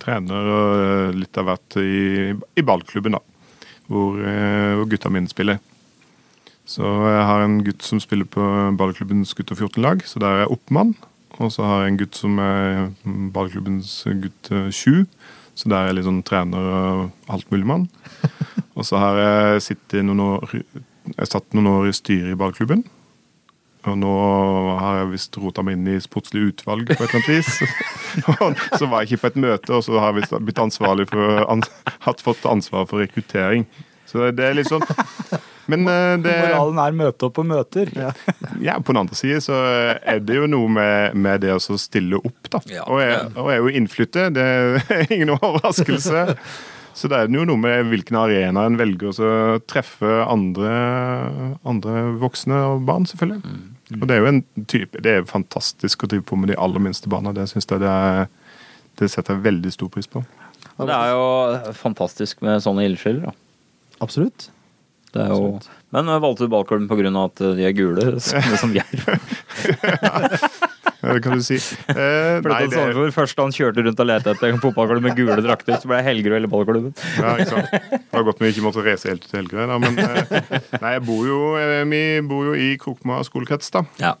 Trener og litt av hvert i, i ballklubben, da. Hvor, eh, hvor gutta mine spiller. Så jeg har en gutt som spiller på ballklubbens gutter 14-lag, så der er jeg oppmann. Og så har jeg en gutt som er mm, ballklubbens gutt eh, 7, så der er jeg litt sånn trener og altmuligmann. Og så har jeg sittet i noen år Jeg satt noen år i styret i ballklubben. Og nå har jeg visst rota meg inn i sportslig utvalg på et eller annet vis. Og så var jeg ikke på et møte, og så har jeg visst blitt ansvarlig for an, hatt fått ansvar for rekruttering. Så det er litt sånn Men eh, det Moralen er møte opp på møter. [laughs] ja, på den andre side så er det jo noe med, med det å så stille opp, da. Ja. og, jeg, og jeg er jo innflytter, det er ingen overraskelse. Så det er jo noe med hvilken arena en velger å så treffe andre, andre voksne og barn, selvfølgelig. Mm. Og det er jo en type, det er fantastisk å drive på med de aller minste barna. Det synes jeg det, er, det setter jeg veldig stor pris på. Men Det er jo fantastisk med sånne ildsjeler, da. Absolutt. Det er jo... Men jeg valgte du ballklubben på grunn av at eh, de er gule, [laughs] samme som Jerv? Ja, Det kan du si. Eh, For sånn nei, dette det, Sandefjord, Først da han kjørte rundt og lette etter en fotballklubb med gule drakter, så ble jeg Helgerud eller ballklubben. Ja, ikke sant. Det var godt vi ikke måtte reise helt til Helgerøy, da. Men eh, nei, jeg bor jo, eh, vi bor jo i Krokma skolekrets, da. Ja.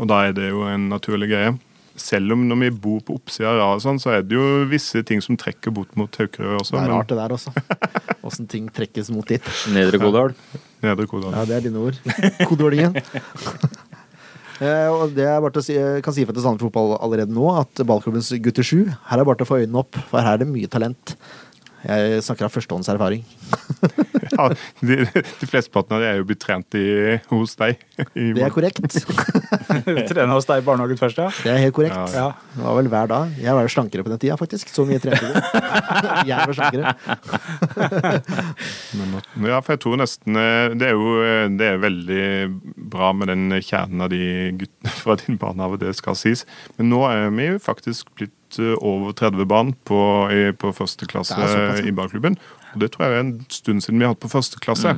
Og da er det jo en naturlig greie. Selv om når vi bor på oppsida av Raet og sånn, så er det jo visse ting som trekker bort mot Taukerøy også. Det er men- rart, det der også. Åssen ting trekkes mot dit. Nedre Godal. Nedre Kodal. Ja, det er dine ord. [laughs] [laughs] Kodeordningen. Eh, og det er bare til å si, jeg kan si fra til Sandefjord Fotball allerede nå at ballklubbens gutter 7 Her er det bare til å få øynene opp, for her er det mye talent. Jeg snakker av førstehåndserfaring. Ja, de, de flesteparten av det er jo blitt trent i, hos deg. I, Det er korrekt. Trene hos deg i barnehagen først, ja? Det er helt korrekt. Ja. Det var vel hver dag. Jeg var jo slankere på den tida, faktisk. Så mye trente jeg. [laughs] Jeg var slankere. ja, for jeg tror nesten eh, Det er jo eh, det er veldig bra med den kjernen av de guttene [laughs] fra din barnehage, det skal sies. Men nå er vi jo faktisk blitt eh, over 30 barn på, i, på første klasse Det er såpass, ja. i barklubben. Og det tror jeg er en stund siden vi har hatt på første klasse.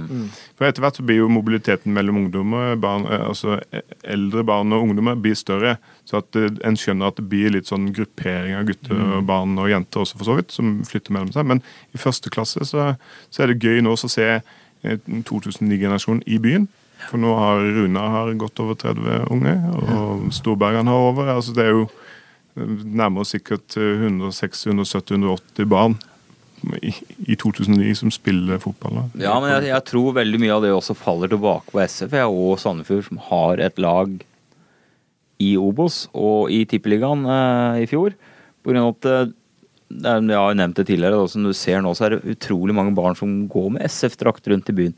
For etter hvert så blir jo mobiliteten mellom ungdommer, barn, eh, altså eh, eldre barn og ungdommer, blir større. Så at eh, en skjønner at det blir litt sånn gruppering av gutter og barn og jenter også, for så vidt, som flytter mellom seg. Men i første klasse så, så er det gøy nå også å se eh, 2009-generasjonen i byen. For nå har Runa har godt over 30 unge, og Storbergen har over. altså det er jo nærmere sikkert eh, 160, 170, 180 barn i, i 2009 som spiller fotball. da. Ja, men jeg, jeg tror veldig mye av det også faller tilbake på SF jeg, og Sandefjord, som har et lag i Obos og i Tippeligaen eh, i fjor. På grunn av at eh, det er- Jeg har jo nevnt det tidligere, da, som du ser nå, så er det utrolig mange barn som går med SF-drakt rundt i byen.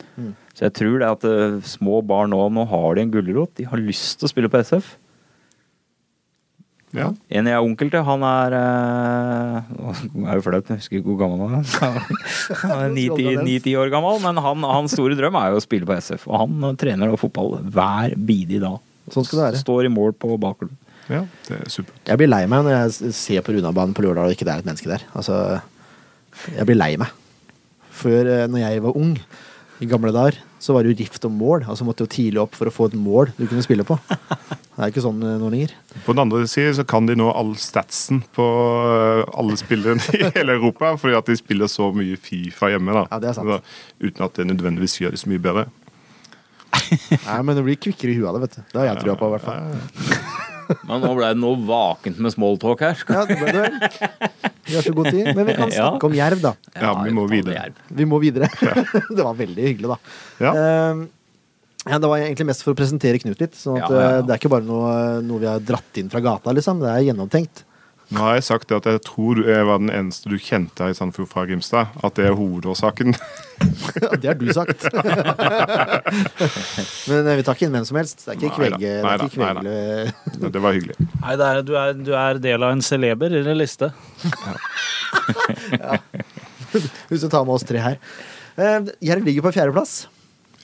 Så jeg tror det at eh, små barn nå nå har de en gulrot. De har lyst til å spille på SF. Ja. En jeg er onkel til, han er eh, [laughs] Nå er jo flaut, jeg husker ikke hvor gammel han er. [laughs] Han er ni-ti- Ni-ti år gammel, men han, hans store drøm er jo å spille på SF. Og han eh, trener da fotball hver bidige dag. Sånn skal det være. Står i mål på bakgrunnen. ja, det er supert. Jeg blir lei meg når jeg s- ser på Runabanen på lørdag og ikke det er et menneske der. Altså, jeg blir lei meg. Før, eh, når jeg var ung, i gamle dager, så var det jo rift om mål. Altså måtte jo tidlig opp for å få et mål du kunne spille på. Det er ikke sånn eh, nå lenger. På den andre siden så kan de nå all statsen på eh, alle spillerne [laughs] i hele Europa, fordi at de spiller så mye Fifa hjemme. da. Ja, det er sant. Da, Uten at det nødvendigvis gjør det så mye bedre. Nei, men det blir kvikkere i huet av det, vet du. Det har jeg trua på, i hvert fall. Men nå ble det noe vakent med smalltalk her. Skal Ja, det ble det vel. Vi har så god tid. Men vi kan Ja. snakke om jerv, da. Ja, vi må faen, det videre. er- Vi må videre. [laughs] Det var veldig hyggelig, da. Ja. Ehm, ja, det var egentlig mest for å presentere Knut litt. Sånn at Ja, ja, ja. eh, Det er ikke bare noe, noe vi har dratt inn fra gata, liksom. Det er [laughs] gjennomtenkt. Nå har jeg sagt at jeg tror du jeg var den eneste du kjente her i Sandefjord fra Grimstad. At det er [laughs] hovedårsaken. det har du sagt. [laughs] Men eh, vi tar ikke inn hvem som helst. Det er ikke Nei da, kvege... Det nei er da, ikke nei da. kvegle... Det var hyggelig. Nei, det er, du, er, du er del av en celeber eller liste. Hvis [laughs] du tar med oss tre her. Eh, Jerv ligger på fjerdeplass.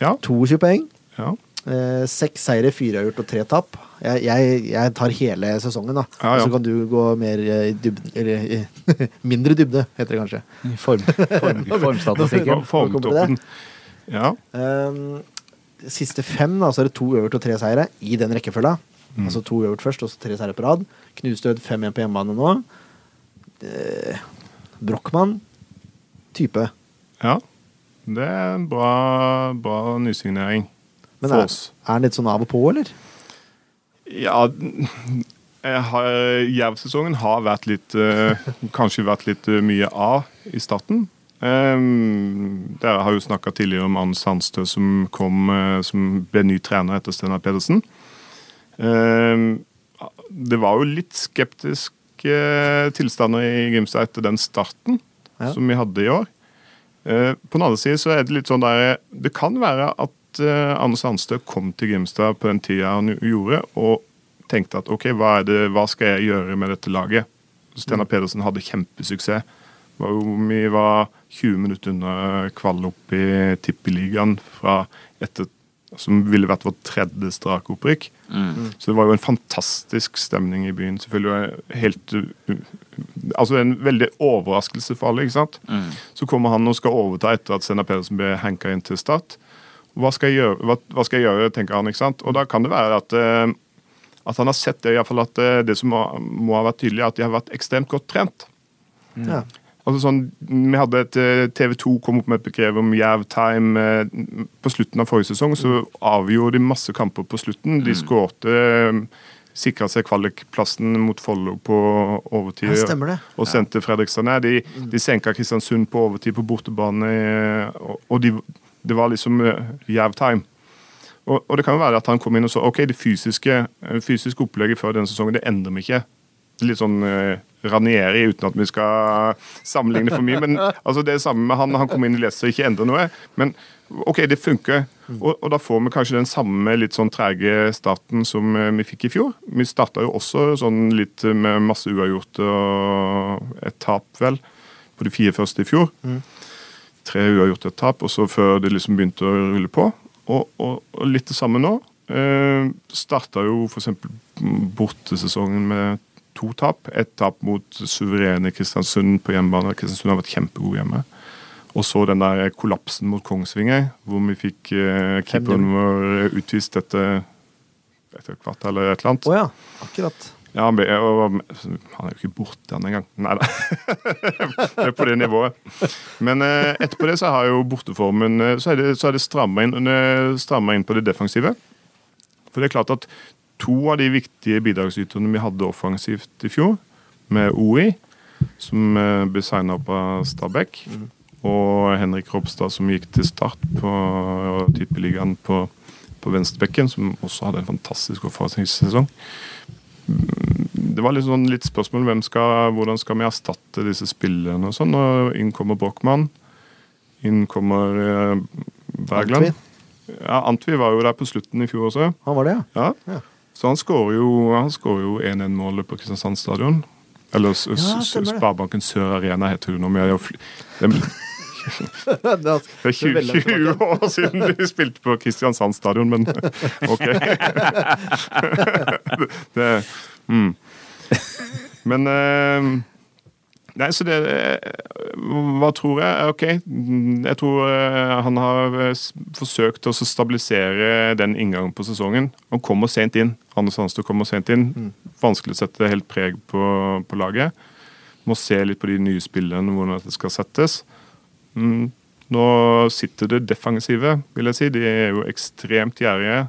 Ja, 22 poeng. ja. Eh, Seks seire, fire uavgjort og tre tap. Jeg, jeg, jeg tar hele sesongen, da. Ja, ja. Så kan du gå mer eh, i dybden Eller i, [laughs] mindre dybde, heter det kanskje. I form, [laughs] form, formstatistikken. For- Formtoppen. Ja. Um, siste fem, da, så er det to øvert og tre seire i den rekkefølga. Altså to øvert først, og så tre seire på rad. Knustød 5-1 på hjemmebane nå. Eh, Brochmann type. ja. Det er en bra, bra nysignering Men for er, oss. er han litt sånn av og på, eller? Ja, jeg har, jervsesongen har vært litt eh, Kanskje vært litt eh, mye av i starten. Um, dere har jo snakka tidligere om Ann Sandstø som, kom, eh, som ble ny trener etter Steinar Pedersen. Ehm, det var jo litt skeptiske eh, tilstander i Grimstad etter den starten Ja. som vi hadde i år. Eh, På den andre siden så er det litt sånn der Det kan være at eh, Anne Sandstø kom til Grimstad på den tida han gjorde, og tenkte at OK, hva, er det, hva skal jeg gjøre med dette laget? Steinar Pedersen hadde kjempesuksess. Var jo, vi var 20 minutter unna kvall opp i Tippeligaen fra etter som ville vært vårt tredje strake opprykk. Så det var jo en fantastisk stemning i byen. selvfølgelig. og Helt, uh, altså En veldig overraskelse for alle. ikke sant? Så kommer han og skal overta etter at Steinar Pedersen ble hanka inn til Start. Hva skal, jeg gjøre, hva, hva skal jeg gjøre, tenker han. ikke sant? Og da kan det være at, eh, at han har sett det, i hvert fall at eh, det som må, må ha vært tydelig, er at de har vært ekstremt godt trent. Ja. Altså sånn, vi hadde et eh, TV 2 kom opp med et begrep om Jerv Time. eh, På slutten av forrige sesong så avgjorde de masse kamper på slutten. De skårte Sikra seg kvalikplassen mot Follo på overtid. Ja, stemmer det. Mm. Og sendte Fredrikstad ned. De, de senka Kristiansund på overtid på bortebane. eh, Og, og de, det var liksom eh, Jerv Time. Og, og det kan jo være at han kom inn og så ok, det fysiske, eh, fysiske opplegget før denne sesongen, det endrer vi ikke. Det er Litt sånn eh, Ranieri, uten at vi skal sammenligne for mye. Men altså, det er det samme med han. Han kom inn i Leicester og ikke endra noe. Men OK, det funker. Og, og da får vi kanskje den samme litt sånn trege starten som eh, vi fikk i fjor. Vi starta jo også sånn litt med masse uavgjorte og et tap, vel, på de fire første i fjor. Tre uavgjorte og et tap, og så før det liksom begynte å rulle på. Og, og, og litt det samme nå. Eh, starta jo f.eks. bortesesongen med to tap. Ett tap mot suverene Kristiansund på hjemmebane. Kristiansund har vært kjempegod hjemme. Og så den der kollapsen mot Kongsvinger, hvor vi fikk eh, keeperen vår utvist etter, etter et kvart eller et eller annet. Å ja, akkurat. Ja, han, ble, og, han er jo ikke borte han engang. Nei da. [laughs] det er på det nivået. Men eh, etterpå det så har jo borteformen eh, Så er det, så er det stramma inn, eh, strammet inn på det defensive. For det er klart at to av de viktige bidragsyterne vi hadde offensivt i fjor, med OI, som eh, ble signa opp av Stabæk, og Henrik Ropstad, som gikk til start på eh, tippeligaen på, på venstrebekken, som også hadde en fantastisk offensivsesong det var litt, sånn, litt spørsmål hvem skal, hvordan skal vi erstatte disse spillerne og sånn. Og inn kommer Brochmann. Inn kommer eh, Bergland. Antwi. Ja, Antwi var jo der på slutten i fjor også. Han var det, ja. Ja. Ja. Så han skårer jo han skårer jo 1-1-målet på Kristiansand stadion. Eller s- s- stemmer det. Sparebanken Sør Arena heter det nå. men jeg har jo fl- Det er- [laughs] det er det er 20, veldig langt tilbake. 20 år siden de spilte på Kristiansand stadion, men [laughs] OK. det, mm. Men eh, Nei, så det eh, Hva tror jeg? Eh, OK. mm, Jeg tror eh, han har eh, s- forsøkt å så stabilisere den inngangen på sesongen. Han kommer sent inn. Anders Hanstad kommer sent inn. Vanskelig å sette helt preg på, på laget. Må se litt på de nye spillene, hvordan dette skal settes. Mm. Nå sitter det defensive, vil jeg si. De er jo ekstremt gjerrige.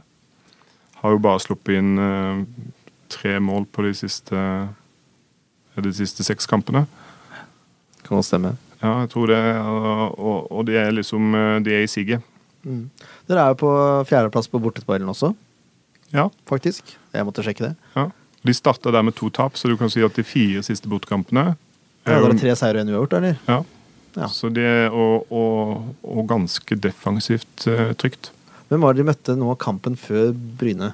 Har jo bare sluppet inn eh, tre mål på de siste, eh, de siste seks kampene. Kan også stemme. Ja, jeg tror det. Og, og, og de er liksom eh, De er i siget. Dere er jo på fjerdeplass på bortespillen også, Ja. faktisk. Jeg måtte sjekke det. ja. De starta der med to tap, så du kan si at de fire siste bortkampene Ja, dere tre seire og en uavgjort, eller? Ja. Ja. Så det er og, og, og ganske defensivt eh, trygt. Hvem var det de møtte nå kampen før Bryne?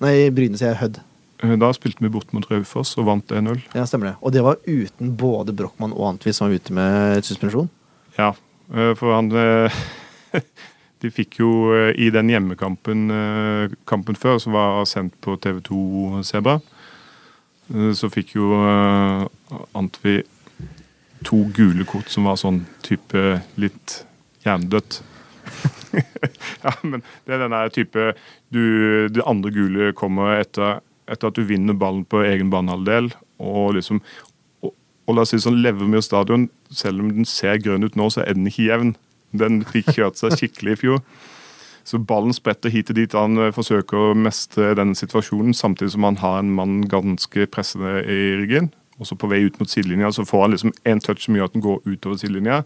Nei, Bryne sier jeg Hødd. Eh, Da spilte vi bort mot Raufoss og vant 1-0. Ja, stemmer det. Og det var uten både Brochmann og Antwi som var ute med suspensjon. Ja, eh, for han eh, [laughs] De fikk jo eh, i den hjemmekampen eh, kampen før, som var sendt på TV2 Sebra, eh, så fikk jo eh, Antvi to gule kort som var sånn type litt hjernedødt. [laughs] ja, men det er den der type du, Det andre gule kommer etter, etter at du vinner ballen på egen banehalvdel. Og liksom og, og la oss si sånn Levermyr stadion, selv om den ser grønn ut nå, så er den ikke jevn. Den fikk kjørt seg skikkelig i fjor. Så ballen spretter hit og dit. Han eh, forsøker å mestre den situasjonen, samtidig som han har en mann ganske pressende i ryggen. Og så på vei ut mot sidelinja så får han liksom en touch som gjør at den går utover sidelinja.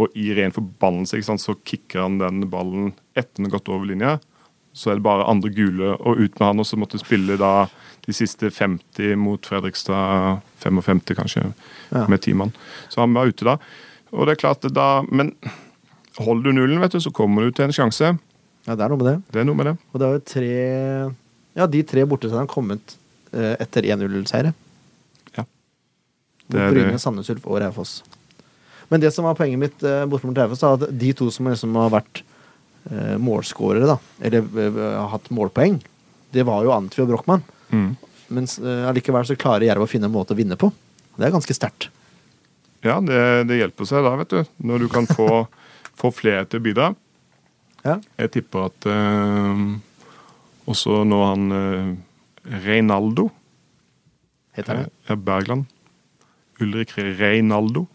Og i ren forbannelse ikke sant, så kicker han den ballen etter den har gått over linja. Så er det bare andre gule, og ut med han. Og så måtte spille da de siste 50 mot Fredrikstad 55, kanskje, Ja. med ti mann. Så han var ute da. Og det er klart, det da Men holder du nullen, vet du, så kommer du til en sjanse. Ja, det er noe med det. Det er noe med det. Og det er jo tre Ja, de tre borteseierne har kommet eh, etter 1-0-seire. Ja. Mot Det er Bryne, det. Sandnes Ulf og Raufoss. Men det som var poenget mitt eh, borte mot Raufoss, er at de to som liksom har vært eh, målskårere, da, eller eh, har hatt målpoeng, det var jo Antvi og Brochmann. Mm. Men eh, allikevel så klarer Jerv å finne en måte å vinne på. Det er ganske sterkt. Ja, det, det hjelper seg da, vet du. Når du kan [laughs] få, få flere til å bidra. Ja. Jeg tipper at eh, også når han eh, Reinaldo Heter det. ja, Bergland Ulrik Reinaldo.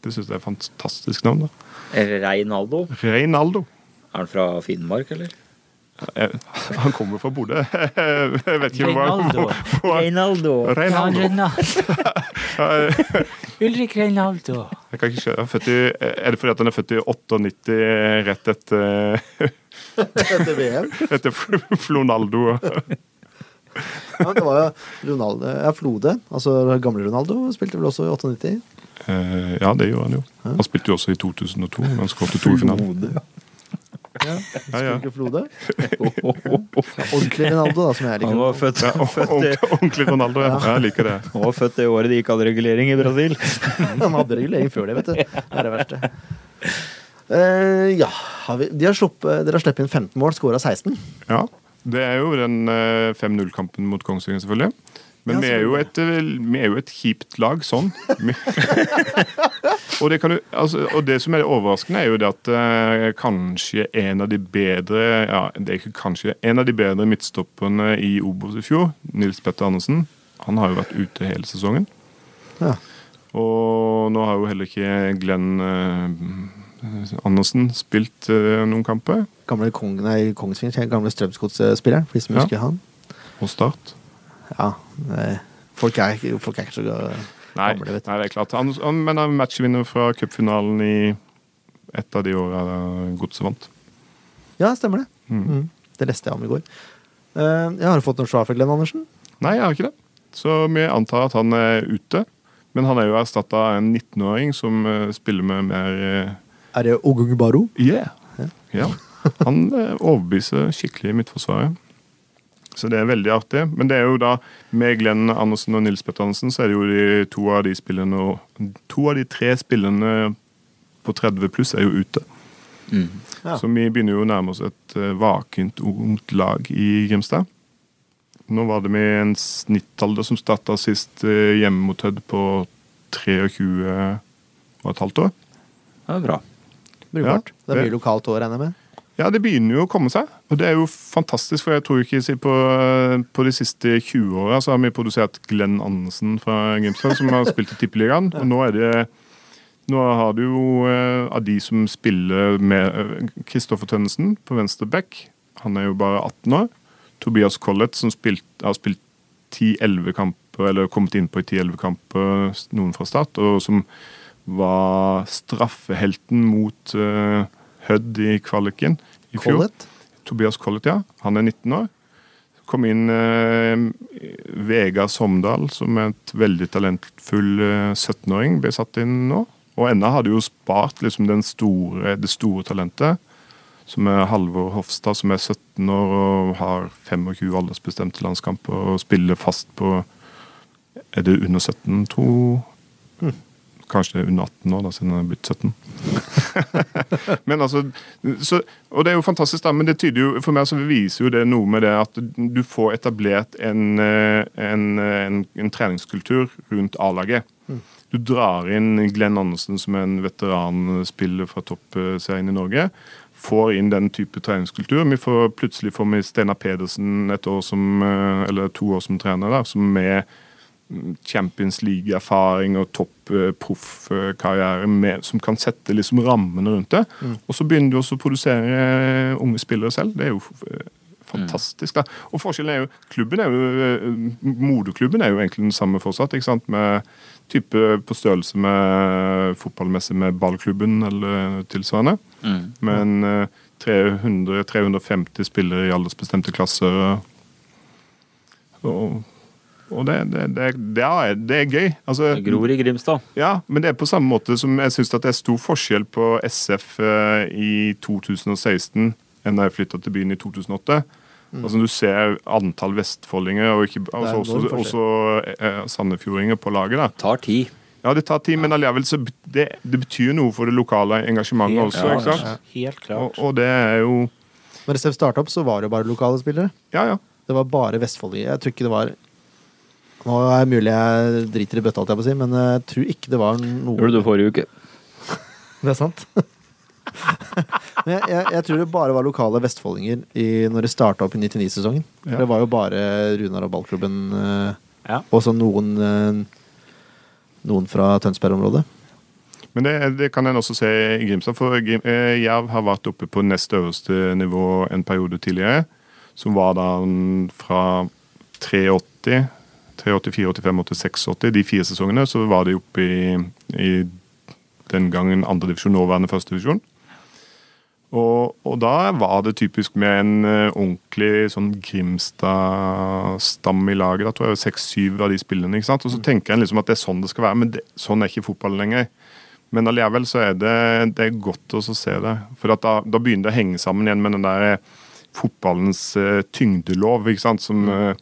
Det syns jeg er et fantastisk navn. da. Reinaldo. Reinaldo. Er han fra Finnmark, eller? Eh, Han kommer fra Bodø. [laughs] Jeg vet ikke hvor han Reinaldo. [laughs] Reinaldo. Reinaldo. Ja, Ulrik Reinaldo. Jeg kan ikke skjønne. han er født i, Er det fordi at han er født i 98 rett etter [laughs] [laughs] Etter VM. etter Fl- Flonaldo. Ja, men det var jo Ronaldo, ja, Flode, altså gamle Ronaldo, spilte vel også i 98. Eh, ja, det gjorde han jo. Han spilte jo også i 2002, da han skåret to i finalen. Ja, ja. Spilte [laughs] Flode. Ordentlig Ronaldo, da, som jeg Han liker. var født, Ja, født, ordentlig- Ordentlig Ronaldo, ja. ja. Jeg liker det. han var født det året de ikke hadde regulering i Brasil. Han hadde regulering før det, vet du. Det er det verste. Eh, ja, har vi, de har sluppet, Dere har sluppet inn 15 mål, scora 16. Ja. Det er jo den eh, 5-0-kampen mot Kongsvinger, selvfølgelig. Ja, Men vi, er jo et, eh, vi er jo et kjipt lag sånn. Vi- [laughs] og, det kan du, altså, og det som er overraskende, er jo det at eh, kanskje en av de bedre ja, det er ikke kanskje, en av de bedre midtstopperne i Obos i fjor, Nils Petter Andersen, han har jo vært ute hele sesongen. Ja. Og nå har jo heller ikke Glenn eh, Andersen spilt eh, noen kamper. Gamle kongen nei, Kongsvinger, gamle Strømsgodsspilleren, for de som Ja. husker han. Og Start. Ja, eh, folk, er, ikke- folk er ikke så ga- Nei, gamle, nei, vet du. det er klart. Han, han, men han er matchvinner fra cupfinalen i et av de åra Godset vant. Ja, stemmer det. Mm. Det leste jeg om i går. Eh, jeg har fått noe svar fra Glenn Andersen. Nei, jeg har ikke det. Så vi antar at han er ute. Men han er jo erstatta av en 19-åring som eh, spiller med mer eh, Er det Ogung Baro? Yeah! Ja. Han eh, overbeviser skikkelig i Midtforsvaret. Så det er veldig artig. Men det er jo da med Glenn Andersen og Nils Petter Andersen, så er det jo de to av de spillerne og To av de tre spillerne på 30 pluss er jo ute. Ja. Så vi begynner jo å nærme oss et eh, vakent ungt lag i Grimstad. Nå var det med en snittalder som starta sist eh, hjemme mot Hødd på 23 og et halvt år. Det er bra. Brukbart. Ja, det blir det- lokalt år, regner jeg med. Ja, det begynner jo å komme seg. Og det er jo fantastisk, for jeg tror ikke si på, på de siste 20 åra så har vi produsert Glenn Andersen fra Grimstad, som har spilt i Tippeligaen. Og nå er det Nå har du jo eh, av de som spiller med eh, Kristoffer Tønnesen på venstre back, han er jo bare 18 år. Tobias Collett, som spilt, har spilt 10-11 kamper, eller kommet innpå i 10-11 kamper, noen fra start, og som var straffehelten mot eh, Hødd i kvaliken i fjor. Collett. Tobias Collett, ja. Han er 19 år. Kom inn eh, Vegard Somdal, som er et veldig talentfull eh, 17-åring, ble satt inn nå. Og ennå hadde jo spart liksom, den store, det store talentet, som er Halvor Hofstad, som er 17 år og har 25 aldersbestemte landskamper og spiller fast på Er det under 17, tro? Kanskje det er under 18 år, da, siden han er blitt 17. [laughs] Men altså, så, og det er jo fantastisk, da, men det tyder jo, for meg så viser jo det noe med det at du får etablert en, eh, en, eh, en, en treningskultur rundt A-laget. Du drar inn Glenn Andersen, som er en veteranspiller fra toppserien i Norge. Får inn den type treningskultur. Vi får plutselig får vi Steinar Pedersen et år som, eh, eller to år som trener, da, som med Champions League-erfaring og topp eh, proffkarriere med- som kan sette liksom rammene rundt det. Og så begynner du også å produsere eh, unge spillere selv. Det er jo f- eh, fantastisk. da. Og forskjellen er jo klubben er jo, eh, Moderklubben er jo egentlig den samme fortsatt. ikke sant? Med type på størrelse med fotballmessig med ballklubben eller tilsvarende. Men eh, 300, 350 spillere i aldersbestemte klasser. eh, Og og det, det, det, det, er, det er gøy. Altså, Det gror i Grimstad. ja, men det er på samme måte som jeg syns det er stor forskjell på SF eh, i 2016 enn da jeg flytta til byen i 2008. Altså Du ser antall vestfoldinger og ikke, altså, enorm også, også eh, sandefjordinger på laget. da. Tar tid. Ja, Det tar tid, men allikevel så bet- det, det betyr noe for det lokale engasjementet også. ikke sant? Helt Og, og det er jo Når SF starta opp, så var det jo bare lokale spillere. Ja, ja. Det var bare vestfoldinger. Jeg tror ikke det var Nå er det mulig jeg driter i bøtta, holdt jeg på å si, men jeg tror ikke det var noe Gjorde du det forrige uke? Det er sant. [laughs] Men jeg, jeg, jeg tror det bare var lokale vestfoldinger i, når det starta opp i 99-sesongen. Ja. Det var jo bare Runar og ballklubben eh, Ja. og så noen eh, Noen fra Tønsberg-området. Men det, det kan en også se i Grimstad, for Grim, eh, Jerv har vært oppe på nest øverste nivå en periode tidligere. Som var da mm, fra 380, 384, 85, 86, 80, de fire sesongene, så var de oppe i, i den gangen andredivisjon, nåværende førstedivisjon. Og, og da var det typisk med en eh, ordentlig sånn Grimstad-stamme i laget. Da tror jeg seks-syv av de spillerne. ikke sant? Og så tenker en liksom at det er sånn det skal være, men det, sånn er ikke fotballen lenger. Men allikevel så er det, det er godt å så se det. For at da, da begynner det å henge sammen igjen med den der eh, fotballens eh, tyngdelov, ikke sant. Som, eh,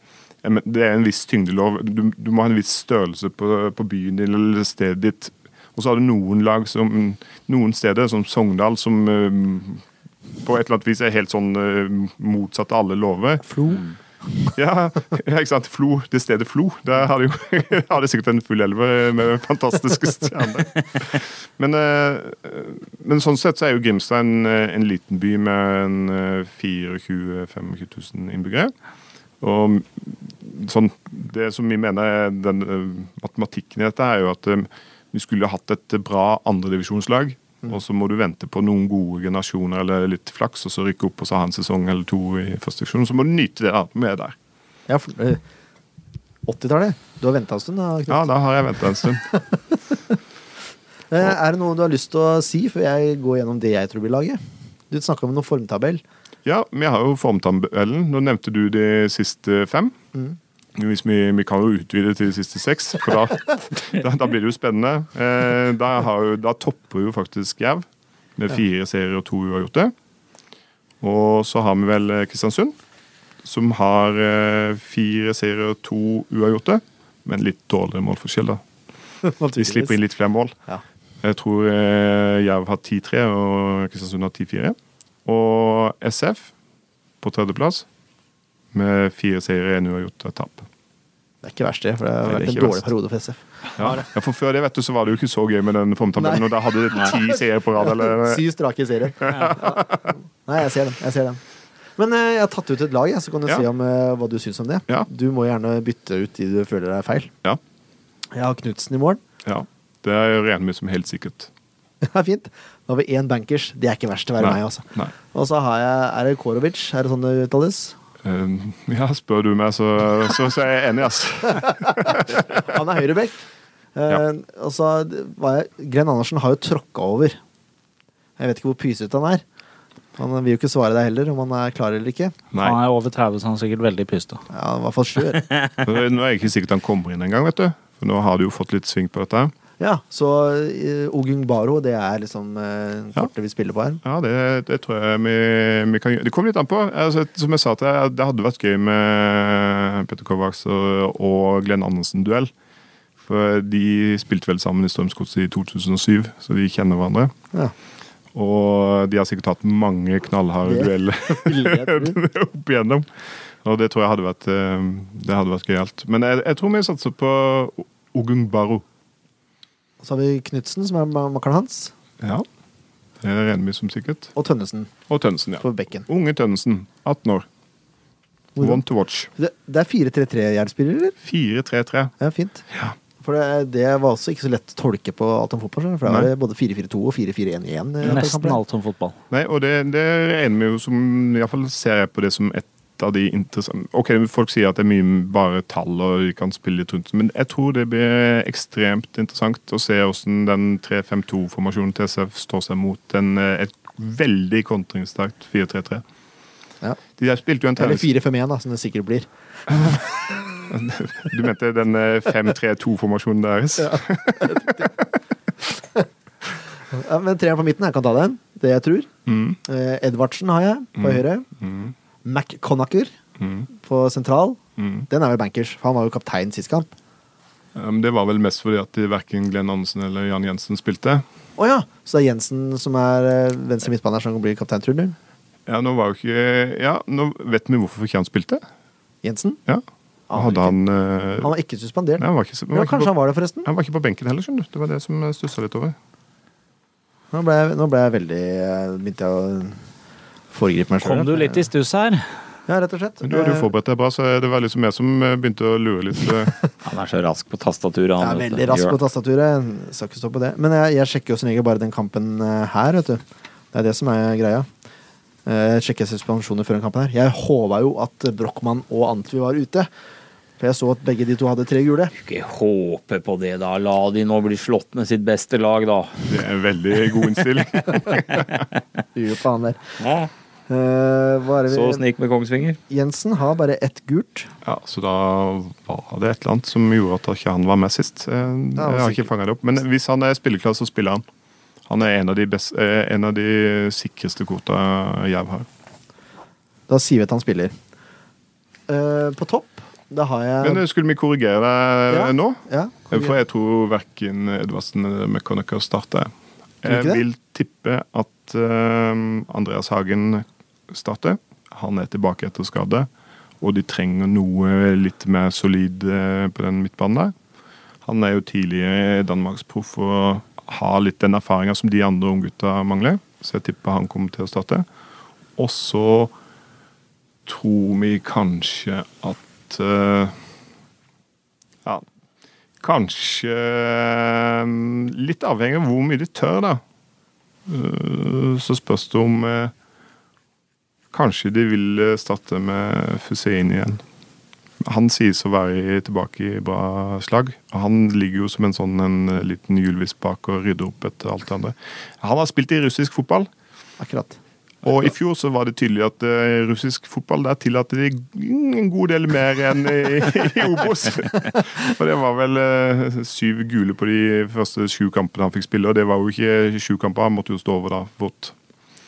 jeg men- det er en viss tyngdelov. Du, du må ha en viss størrelse på, på byen din eller stedet ditt. Og så har du noen lag som Noen steder, som Sogndal, som eh, på et eller annet vis er helt sånn eh, motsatt av alle lover. Flo. [laughs] Ja, ja, ikke sant. Flo, det stedet Flo. Der har de jo [laughs] har de sikkert en full elver med fantastiske stjerner. Men, eh, men sånn sett så er jo Grimstad en, eh, en liten by med en eh, 24 000-25 000 innbyggere. Og sånn, det som vi mener er den eh, matematikken i dette, er jo at eh, vi skulle hatt et bra andredivisjonslag. Og så må du vente på noen gode generasjoner eller litt flaks, og så rykke opp og så ha en sesong eller to i første divisjon. Så må du nyte det da, med der. Ja, for- eh, 80-tallet. Du har venta en stund? Da, Knut. Ja, da har jeg venta en stund. Eh, Er det noe du har lyst til å si før jeg går gjennom det jeg tror blir laget? Du snakka om noen [laughs] formtabell. Ja, vi har jo formtabellen. Nå nevnte du de siste fem. Hvis vi, vi kan jo utvide til de siste seks, for da, da, da blir det jo spennende. Eh, da, har jo, da topper jo faktisk Jerv med fire serier og to uavgjorte. Og så har vi vel eh, Kristiansund, som har eh, fire serier og to uavgjorte. Men litt dårligere målforskjell, da. De slipper inn litt flere mål. Ja. Jeg tror eh, Jerv har 10-3 og Kristiansund har 10-4. Og SF på tredjeplass med fire seire, én uavgjort og et tap. Det er ikke verst, det. For det har Nei, det er vært en ikke dårlig verst. periode for SF. Ja. ja, for Før det vet du, så var det jo ikke så gøy med den formtabellen. Nei. Og da hadde de ti seire på rad. [laughs] Eller, Syv strake i [laughs] serien. Ja. Nei, jeg ser den. Jeg ser den. Men eh, jeg har tatt ut et lag, jeg, så kan du Ja. si om eh, hva du syns om det. Ja. Du må gjerne bytte ut de du føler er feil. ja, Jeg har Knutsen i morgen. ja. Det regner vi som helt sikkert. [laughs] Det er fint. Da har vi én bankers. Det er ikke verst å være Nei. meg, altså. Nei. Og så har jeg Er det Korovic? Er det sånn det uttales? Eh, ja, spør du meg, så, så, så er jeg enig, altså. ass. Han er høyreback. Eh, [laughs] Ja. Og så var jeg Gren Andersen har jo tråkka over. Jeg vet ikke hvor pysete han er. Han vil jo ikke svare deg heller, om han er klar eller ikke. Nei. Han er over 30, så han er sikkert veldig pysta. Ja, han er i hvert fall skjør. [laughs] Nå er jeg ikke sikkert han kommer inn engang, vet du. For nå har du jo fått litt sving på dette. her. Ja, så uh, Ogung Baro, det er liksom uh, Ja. kortet vi spiller på her. Ja, det, det tror jeg vi, vi kan gjøre. Det kommer litt an på. Altså, som jeg sa til deg, det hadde vært gøy med Petter Kovács og, og Glenn Andersen-duell. For de spilte vel sammen i Strømsgodset i 2007, så de kjenner hverandre. Ja. Og de har sikkert hatt mange knallharde Det- dueller [laughs] Ville jeg tro. opp igjennom. Og det tror jeg hadde vært, eh, det hadde vært gøyalt. Men jeg, jeg tror vi satser på Ogung Baro. Så har vi Knutsen, som er ma- makkeren hans, Ja. Det regner vi som sikkert. og Tønnesen Og Tønnesen, på ja. bekken. Unge Tønnesen, 18 år. Hvordan? One to watch. Det, det er 4-3-3-jernspillere, eller? 4-3-3. Ja, fint. Ja. For det, det var også ikke så lett å tolke på alt om fotball. skjønner du, For da var Nei. det både 4-4-2 og 4-4-1-1. eh, på Nesten kampen. alt om fotball. Nei, og det, det regner vi jo som Iallfall ser jeg på det som et av de interessante Ok, folk sier at det er mye bare tall og de kan spille litt rundt, men jeg tror det blir ekstremt interessant å se hvordan den 3-5-2-formasjonen til SF står seg mot en, eh, et veldig kontringssterkt 4-3-3. Ja. De der spilte jo en Eller 4-5-1, trening da, som det sikkert blir. Du mente den eh, 5-3-2-formasjonen deres? Ja, men treeren på midten, jeg kan ta den. Det jeg tror. Eh, Edvardsen har jeg på høyre. McConnacher på sentral. Den er vel bankers, for han var jo kaptein sist kamp. Um, Det var vel mest fordi at verken Glenn Andersen eller Jan Jensen spilte. Å ja! Så det er Jensen som er eh, venstre midtbaner som blir kaptein, tror du? Ja, nå var jo ikke Ja, nå vet vi hvorfor ikke han spilte. Jensen? Ja. Aner Hadde ikke. han eh, Han var ikke suspendert. Nei, han var ikke, så- han ja, var ikke kanskje på, han var det, forresten. han var ikke på benken heller, skjønner du. Det var det som stussa litt over. Nå ble, jeg- nå ble jeg veldig eh, Begynte jeg å foregripe meg sjøl. Kom du litt i stuss her? Ja, rett og slett. Men du hadde jo forberedt deg bra, så det var liksom jeg som eh, begynte å lure litt. eh. [laughs] Han er så rask på tastaturet. Jeg han, er vet du. veldig rask på Gjør- tastaturet. Skal ikke stå på det. Men jeg, jeg sjekker jo som regel bare den kampen eh, her, vet du. Det er det som er greia. Eh, Jeg sjekker suspensjoner før den kampen her. Jeg håva jo at Brochmann og Antwi var ute. For For jeg så at begge de to hadde tre gule. Ikke håpe på det, da. La de nå bli slått med sitt beste lag, da. Det er en veldig god innstilling. [laughs] Gir jo faen der. Eh, hva er det Så vi- snik med Kongsvinger. Jensen har bare ett gult. Ja, Så da var det et eller annet som gjorde at ikke han var med sist. Eh, var Jeg har ikke sikkert. fanget det opp. Men hvis han er spilleklar, så spiller han. Han er en av de, best, eh, en av de sikreste kvota Jerv har. Da sier vi at han spiller. Eh, på topp, da har jeg Men eh, skulle vi korrigere deg Ja. eh, nå? ja, Eh, For jeg tror verken Edvardsen eller McConaughey starter. Tror du Jeg ikke det? vil tippe at eh, Andreas Hagen starter. Han er tilbake etter skade. Og de trenger noe litt mer solid eh, på den midtbanen der. Han er jo tidligere danmarksproff og har litt den erfaringa som de andre unggutta mangler. Så jeg tipper han kommer til å starte. Og så tror vi kanskje at eh, Ja, Kanskje eh, Litt avhengig av hvor mye de tør, da. Eh, Så spørs det om eh, Kanskje de vil eh, starte med Fusseini igjen. Han sies å være i- tilbake i bra slag. og Han ligger jo som en sånn en eh, liten hjulvis bak og rydder opp etter alt det andre. Han har spilt i russisk fotball, akkurat. og i fjor så var det tydelig at eh, russisk fotball der tillater de en god del mer enn i, i [laughs] Obos. For det var vel eh, syv gule på de første sju kampene han fikk spille, og det var jo ikke sju kamper, han måtte jo stå over da, fort.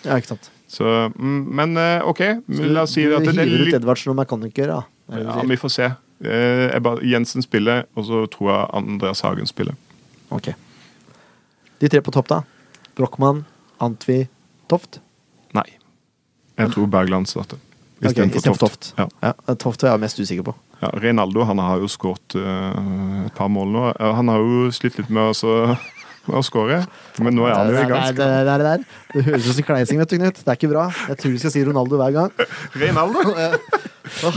Ja, ikke sant. Så, mm, men eh, OK, Du- la oss si at du det er hiver ut litt Edvardsen og McConnicker, da. Er det du ja, sier? Vi får se. Eh, jeg bare, Jensen spiller, og så tror jeg Andreas Hagen spiller. Ok. De tre på topp, da. Brochmann, Antvi, Toft. Nei. Jeg tror Bergland starter. Ok, Istedenfor istedenfor Toft. Ja. Ja, eh, Toft er jeg mest usikker på. Ja, Reinaldo han har jo skåret eh, et par mål nå. Eh, Han har jo slitt litt med å så- med å skåre, men nå er han jo i Nei, gang. det, det, det, det, det høres ut som kleising, vet du, Knut. Det er ikke bra. Jeg tror vi skal si Ronaldo hver [laughs] gang. Reinaldo!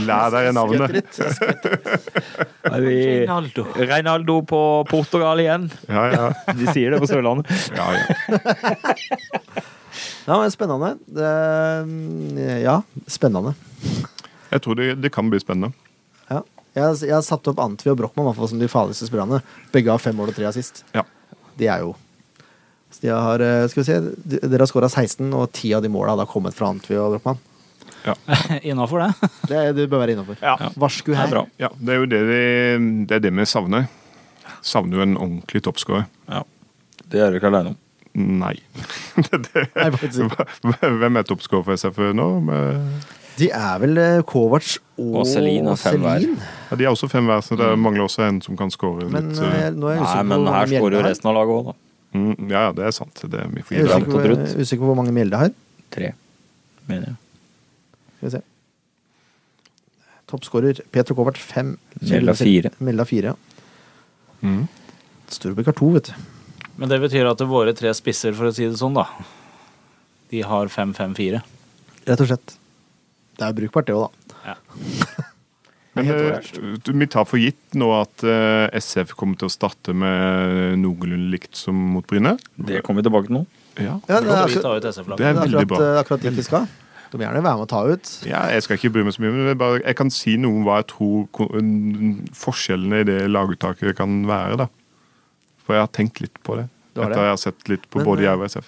Lær deg navnet. Er vi- [laughs] Reinaldo på Portugal igjen. Ja, ja. De sier det på Sørlandet. ja, ja. Ja, men spennende. Det, ja, spennende. Jeg tror det, det kan bli spennende. Ja. Jeg, jeg har satt opp Antvi og Brochmann i hvert fall, som de farligste spillerne. Begge har fem mål og tre assist. Ja. De er jo så de har, eh, skal vi se, de- Dere har skåra 16, og 10 av de måla har da kommet fra Antvi og Brochmann. Innafor det. Det, er- det bør være innafor. Varsku Det er her. bra. ja det er jo det vi, det, er det vi savner. Savner jo en ordentlig toppskårer. Ja. Det er du ikke aleine om. Nei. [laughs] Det- det- Nei, faktisk ikke. Hvem er toppskårer for SF nå? Men- De er vel eh, Kovac og, Og Selin har fem hver. Selin. Ja, de er også fem hver, så det mangler også en som kan skåre Mm. Men litt. eh, eh, nå er jeg Nei, usikker på men hvor her mange skårer jo mjelde har. resten av laget òg, da. mm, Ja, ja, det er sant. Det, vi får gi Jeg er det. Jevnt usikker og på, trutt. usikker på hvor mange mjelde har. Tre, mener jeg. Skal vi se. Toppskårer Petro Kovac fem. Mjelde har fire. Mjelde har fire, ja. Mm. Storbekk har to, vet du. Men det betyr at våre tre spisser, for å si det sånn, da De har 5-5-4. Rett og slett. Det er brukbart, det òg, da. Ja. Men eh, du- vi tar for gitt nå at eh, SF kommer til å starte med noenlunde likt som mot Bryne. Det kommer vi tilbake til nå. Ja. Ja, altså, det Så er vi akkurat, tar ut SF-laget. Det er veldig akkurat, eh, bra. akkurat dit vi skal. Du må gjerne være med og ta ut. Ja, jeg skal ikke bry meg så mye, men det er bare, jeg kan si noe om hva jeg tror ko- n- forskjellene i det laguttaket kan være. da. For jeg har tenkt litt på det. Du har det? Etter jeg har sett litt på Men, både eh, Jerv og SF.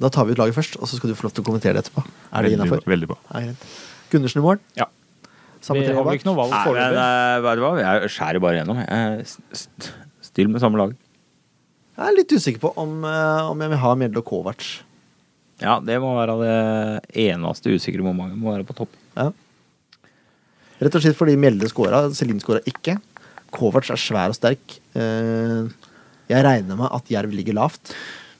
Da tar vi ut laget først, og så skal du få lov til å kommentere det etterpå. Er det Veldig innafor? bra- Veldig bra. Gundersen i morgen? Ja. Samme Vi tre har vel bak? ikke noe valg Nei, men foreløpig. eh, vet du hva? Jeg skjærer bare gjennom. jeg. Eh, st- Still med samme lag. Jeg er litt usikker på om, eh, om jeg vil ha Mjelde og Kovac. Ja, det må være det eneste usikre momentet. Må være på topp. Ja. Rett og slett fordi Mjelde skåra, Selin skåra ikke. Kovac er svær og sterk. Eh, Jeg regner med at Jerv ligger lavt,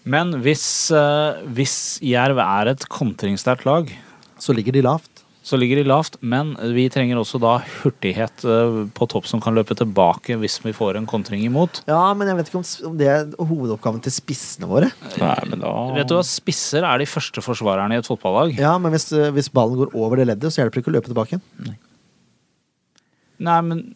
Men hvis, eh, hvis Jerv er et kontringssterkt lag, så ligger de lavt. så ligger de lavt. Men vi trenger også da hurtighet eh, på topp som kan løpe tilbake hvis vi får en kontring imot. Ja, men jeg vet ikke om s- om det er hovedoppgaven til spissene våre. Nei, men da Vet du hva, Spisser er de første forsvarerne i et fotballag. Ja, men hvis, eh, hvis ballen går over det leddet, så hjelper det ikke å løpe tilbake igjen. Nei, men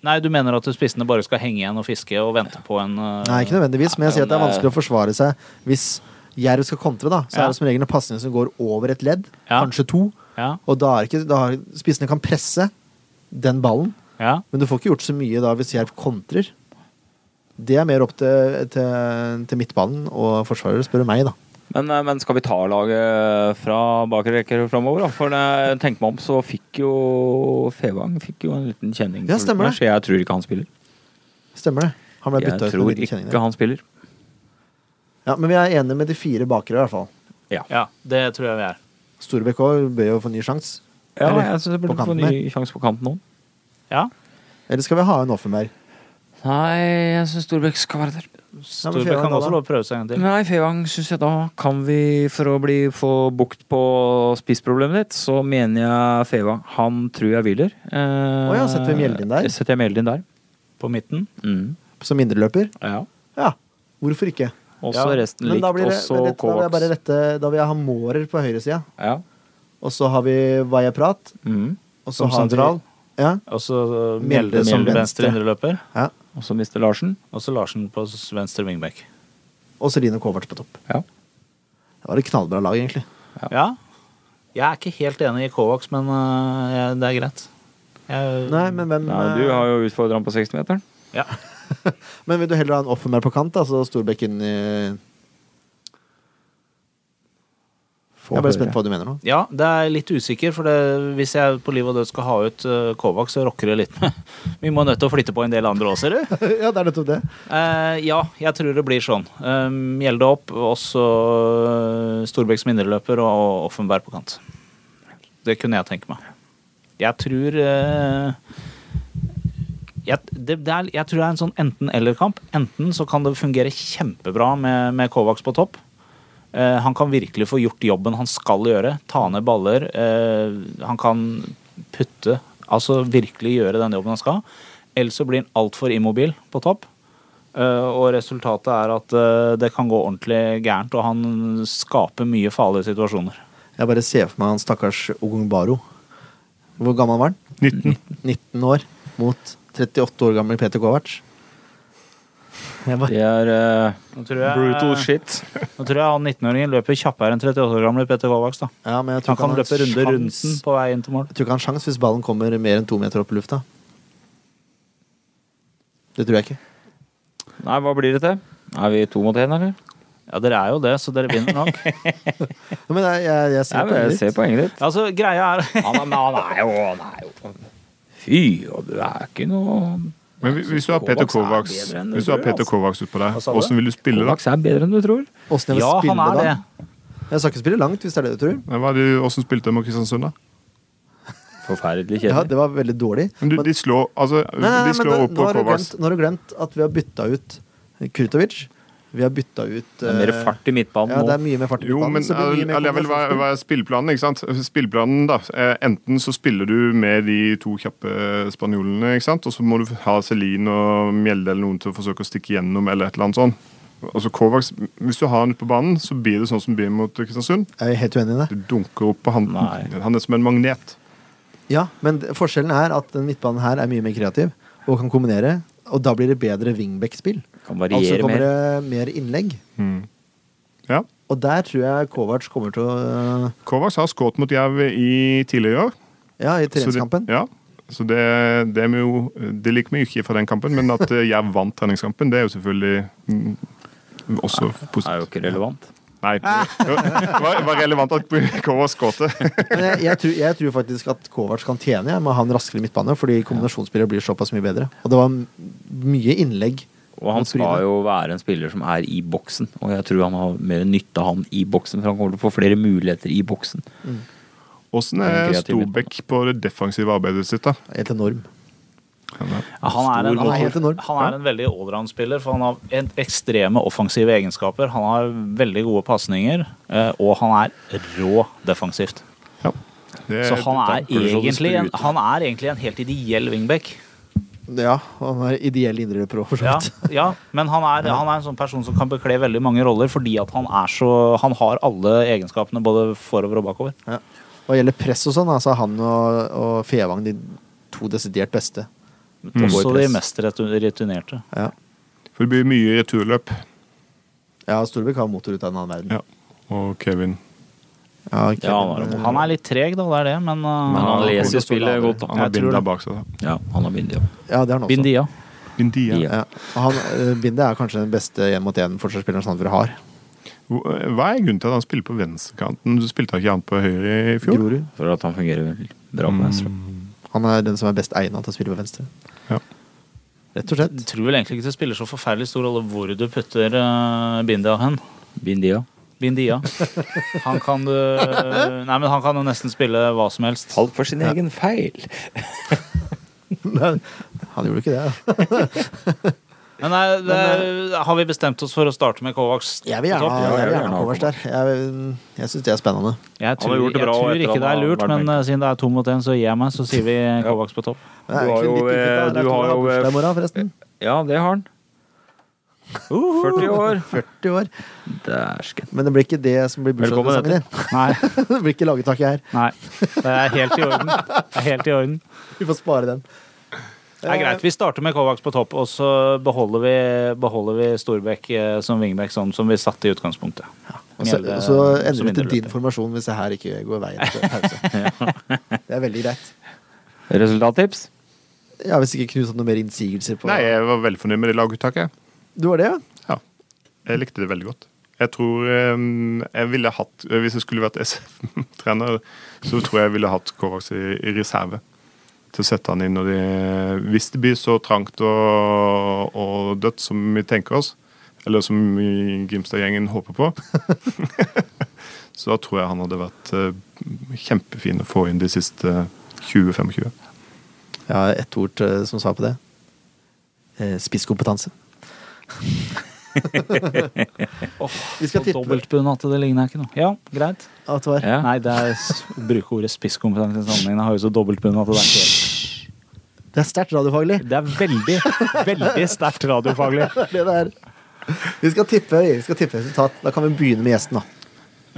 Nei, du mener at spissene bare skal henge igjen og fiske og vente på en eh, Nei, ikke nødvendigvis, men jeg sier at det er men, eh, vanskelig å forsvare seg hvis Jerv skal kontre, da. Så Ja. er det som regel en pasning som går over et ledd, Ja. kanskje to. Ja. Og da er ikke da har, Spissene kan presse den ballen, Ja. Men du får ikke gjort så mye da hvis Jerv kontrer. Det er mer opp til, til, til midtbanen og forsvarer, spør du meg, da. Men, eh, men skal vi ta laget eh, fra bakre rekker framover, da? For eh, tenk meg om, så fikk jo Fevang fikk jo en liten kjenning. Ja, stemmer det. Så jeg tror ikke han spiller. Stemmer det? Han ble bytta Jeg ut med en tror liten kjenning. ikke der. han spiller. Ja, men vi er enige med de fire bakere, i hvert fall. ja, det tror jeg vi er. Storbekk òg bør jo få ny sjanse. Ja, Eller, jeg synes jeg på burde få kanten ny sjanse på kanten nå. Ja. Eller skal vi ha en Offenberg? Nei, jeg syns Storbekk skal være der. Storbekk Fevang kan da, også da? lov å prøve seg en gang til. Nei, Fevang syns jeg da kan vi For å bli, få bukt på spissproblemet ditt, så mener jeg Fevang. Han tror jeg hviler. Eh, Å ja, setter vi Mjeldin der? Setter jeg Mjeldin der. På midten. Mm. Som indreløper? Ja. Ja. Hvorfor ikke? Og Ja, så resten Men likt. da, blir Og det, så men dette, da vil jeg bare Kovacs. rette Da vil jeg ha Mårer på høyresida, Ja. og så har vi Vajaprat, Mm. og så Som har sentral. vi Ja. Og så eh, Mjelde som Mjelde. venstre indreløper. ja. Og så mister Larsen. Og så Larsen på s- venstre wingback. Og Celine Kovac på topp. Ja. Det var et knallbra lag, egentlig. Ja. Jeg er ikke helt enig i Kovacs, men eh, jeg- det er greit. Jeg, Nei, men hvem Nei, du har jo utfordra han på 60-meteren. Ja. eh, Men vil du heller ha en Offenberg på kant, da, så Storbekk inn i Få Jeg er bare høre. spent på hva du mener nå. [laughs] ja, det er litt usikker, for det, hvis jeg på liv og død skal ha ut eh, Kovacs, så rocker det litt [laughs] med Vi må nødt til å flytte på en del andre òg, ser du. ja, det er nettopp det. Eh, ja, jeg tror det blir sånn. Eh, Mjelde opp, og så eh, Storbekk som indreløper og, og Offenberg på kant. Det kunne jeg tenke meg. Jeg tror eh, jeg, det, det er, jeg tror det er en sånn enten-eller-kamp. Enten så kan det fungere kjempebra med, med Kovacs på topp. Eh, han kan virkelig få gjort jobben han skal gjøre. Ta ned baller. eh, han kan putte. Altså virkelig gjøre den jobben han skal. Eller så blir han altfor immobil på topp. Eh, og resultatet er at eh, det kan gå ordentlig gærent, og han skaper mye farlige situasjoner. Jeg bare ser for meg han stakkars Ogungbaro. Hvor gammel var han? 19. 19 år mot 38 år gamle Peter Kovac. Jeg bare, Det er eh, Nå tror jeg, brutal shit. Nå tror jeg han 19-åringen løper kjappere enn 38 år gamle Petter Kovacs. da. ja, men jeg tror Han ikke kan har løpe runde sjans- rundt den på vei inn til mål. Jeg tror ikke han har sjans hvis ballen kommer mer enn to meter opp i lufta. Det tror jeg ikke. Nei, hva blir det til? Er vi to mot én, eller? Ja, dere er jo det, så dere vinner nok. [laughs] Ja, Men jeg, jeg, jeg ser Nei, men poenget jeg ditt. ser poenget ditt. altså, greia er [laughs] Han er, men han er jo, han er jo Fy, og du er ikke noe Men hvis- hvis du har Peter Kovacs Kovacs er bedre enn du Hvis du har tror, Peter altså. Kovacs utpå deg, Hva sa du? åssen vil du spille da? Kovacs er bedre enn du tror. Åssen jeg vil Ja, han spille er det. da. Jeg skal ikke spille langt, hvis det er det du tror. Nei, hva er det- Åssen spilte de mot Kristiansund, da? Forferdelig Ja, kjedelig. det var veldig dårlig. Men du, de slår altså, Nei, nei, de nei, men slår nå- opp nå, på har du Kovacs. glemt, nå har du glemt at vi har bytta ut Kurtovic. Vi har bytta ut Det er mer eh, fart i midtbanen Ja, det er nå. mye mer fart i Jo, midtbanen, men så det blir mye mer allikevel, hva, kombinasjonsspill. hva er spilleplanen, ikke sant? Spilleplanen, da. eh, Enten så spiller du med de to kjappe spanjolene, ikke sant? Og så må du ha Celine og Mjelde eller noen til å forsøke å stikke gjennom, eller et eller annet sånt. Altså Kovacs, Hvis du har han ute på banen, så blir det sånn som det blir mot Kristiansund. Jeg er helt uenig i det. Du dunker opp på han. Nei. Han er som en magnet. Ja, men d- forskjellen er at den midtbanen her er mye mer kreativ og kan kombinere. Og da blir det bedre wingback-spill. Kan Altså variere kommer mer. det Mm. mer innlegg. Ja. Og der tror jeg Kovac kommer til å eh, Kovacs har skåret mot Jerv i tidligere i år. Ja, i Så det- treningskampen. Ja. Så det, det, er vi jo, det liker vi jo ikke fra den kampen, men at eh, Jerv vant treningskampen, det er jo selvfølgelig mm, også Det er jo positivt. ikke relevant. Nei. [laughs] Det var, det var relevant at Kovac [laughs] skåret. Men jeg, jeg, tror, jeg tror faktisk at Kovac kan tjene jeg, med å ha en raskere midtbane, fordi kombinasjonsspillere blir såpass mye bedre. Og det var m- mye innlegg. Og han skal jo være en spiller som er i boksen, og jeg tror han har mer nytte av han i boksen, for han kommer til å få flere muligheter i boksen. Åssen er Kreativ Storbekk på det defensive arbeidet sitt, da? Helt enorm. Ja, han, er en, Han er helt han, enorm. er, han er en veldig allround-spiller, for han har en- ekstreme offensive egenskaper. Han har veldig gode pasninger, eh, og han er rå defensivt. Det, Eh, Så han er, sånn det- det- egentlig en, han er egentlig en helt ideell wingback. Ja, og han er ideell indreløper òg, for så Ja, vidt. ja men han er, han er en sånn person som kan bekle veldig mange roller fordi at han er så Han har alle egenskapene både forover og bakover. Ja. Hva gjelder press og sånn, altså han og, og Fevang de to desidert beste. Mm. Men Også Går i de press. mest retu- returnerte. Ja, For det blir mye returløp. ja Storbekk har motor ut av en annen verden. Ja. Og Kevin. Ja, ok. Ja, han har, Han er litt treg, da, det er det, men men uh, han kommer leser til å jo spillet godt, da. Han har Jeg tror binda det. bak seg. da. Ja, han har bindia. ja, det er han også. Bindia. Bindia. Ja. Ja. Han, eh, Binde er kanskje den beste én mot én forsvarsspilleren Sandefjord har. eh, Hva er grunnen til at han spiller på venstrekanten? Du spilte han ikke han på høyre i fjor? Grorud. For at han fungerer vel bra med venstre. Mm. Han er den som er best egnet til å spille på venstre. [laughs] Ja. Rett og slett. Jeg tror vel egentlig ikke det spiller så forferdelig stor rolle hvor du putter uh, Bindia hen. Bindia. Bindia. Han kan du Nei, men han kan jo nesten spille hva som helst. Falt for sin egen feil. Men han gjorde ikke det. da. Men nei, det, er- har vi bestemt oss for å starte med Kovacs? eh, Jeg vil gjerne på topp? ha Ja, jeg jeg vil vil gjerne gjerne ha ha Kovac der. Jeg, mm, jeg syns det er spennende. Jeg Han har tror, gjort det jeg bra tror etter ikke han det er har lurt, vært men benket. eh, siden det er to mot én, så gir jeg meg, så [laughs] sier vi Kovacs på topp. Det er Du har egentlig jo, litt kult, da. eh, Det er du to har som jo, bursdag i eh, morgen, forresten. Ja, det har han. 40 år. 40 år. Dæsken. Men det blir ikke det som blir Velkommen bursdagssangen din. [laughs] Nei, Det blir ikke lagetaket her. nei. Det er helt i orden. Det er helt i orden. Vi får spare den. Det er greit. Vi starter med Kovacs på topp, og så beholder vi, beholder vi Storbekk eh, som wingback, sånn som vi satte i utgangspunktet. Og så, Mjelde og så som endrer vi til din indreløper. formasjon hvis det her ikke går veien [laughs] til pause. Det er veldig greit. Resultattips? Ja, Hvis ikke Knut hadde noen mer innsigelser på Nei, jeg var veldig fornøyd med det laguttaket. Du var det, ja? Ja. Jeg likte det veldig godt. Jeg tror eh, jeg ville hatt eh, Hvis jeg skulle vært SF-trener, så tror jeg jeg ville hatt Kovacs i, i reserve. Til å sette han inn når de Hvis det blir så trangt og, og dødt som vi tenker oss, eller som vi i Grimstad-gjengen håper på, [laughs] så da tror jeg han hadde vært eh, kjempefin å få inn de siste eh, 20-25. Jeg har ett ord eh, som svar på det. Eh, Spisskompetanse. Vi skal Og tippe. Dobbeltbunn at det ligner ikke noe. Ja, greit. At det var. Ja. Nei, det er s- å bruke ordet spisskompetanse i sammenhengen. Jeg har jo så dobbeltbunn at det er ikke helt Det er sterkt radiofaglig. Det er veldig, veldig sterkt radiofaglig. Det er det det er. Vi skal tippe, vi skal tippe resultat. Da kan vi begynne med gjesten, da.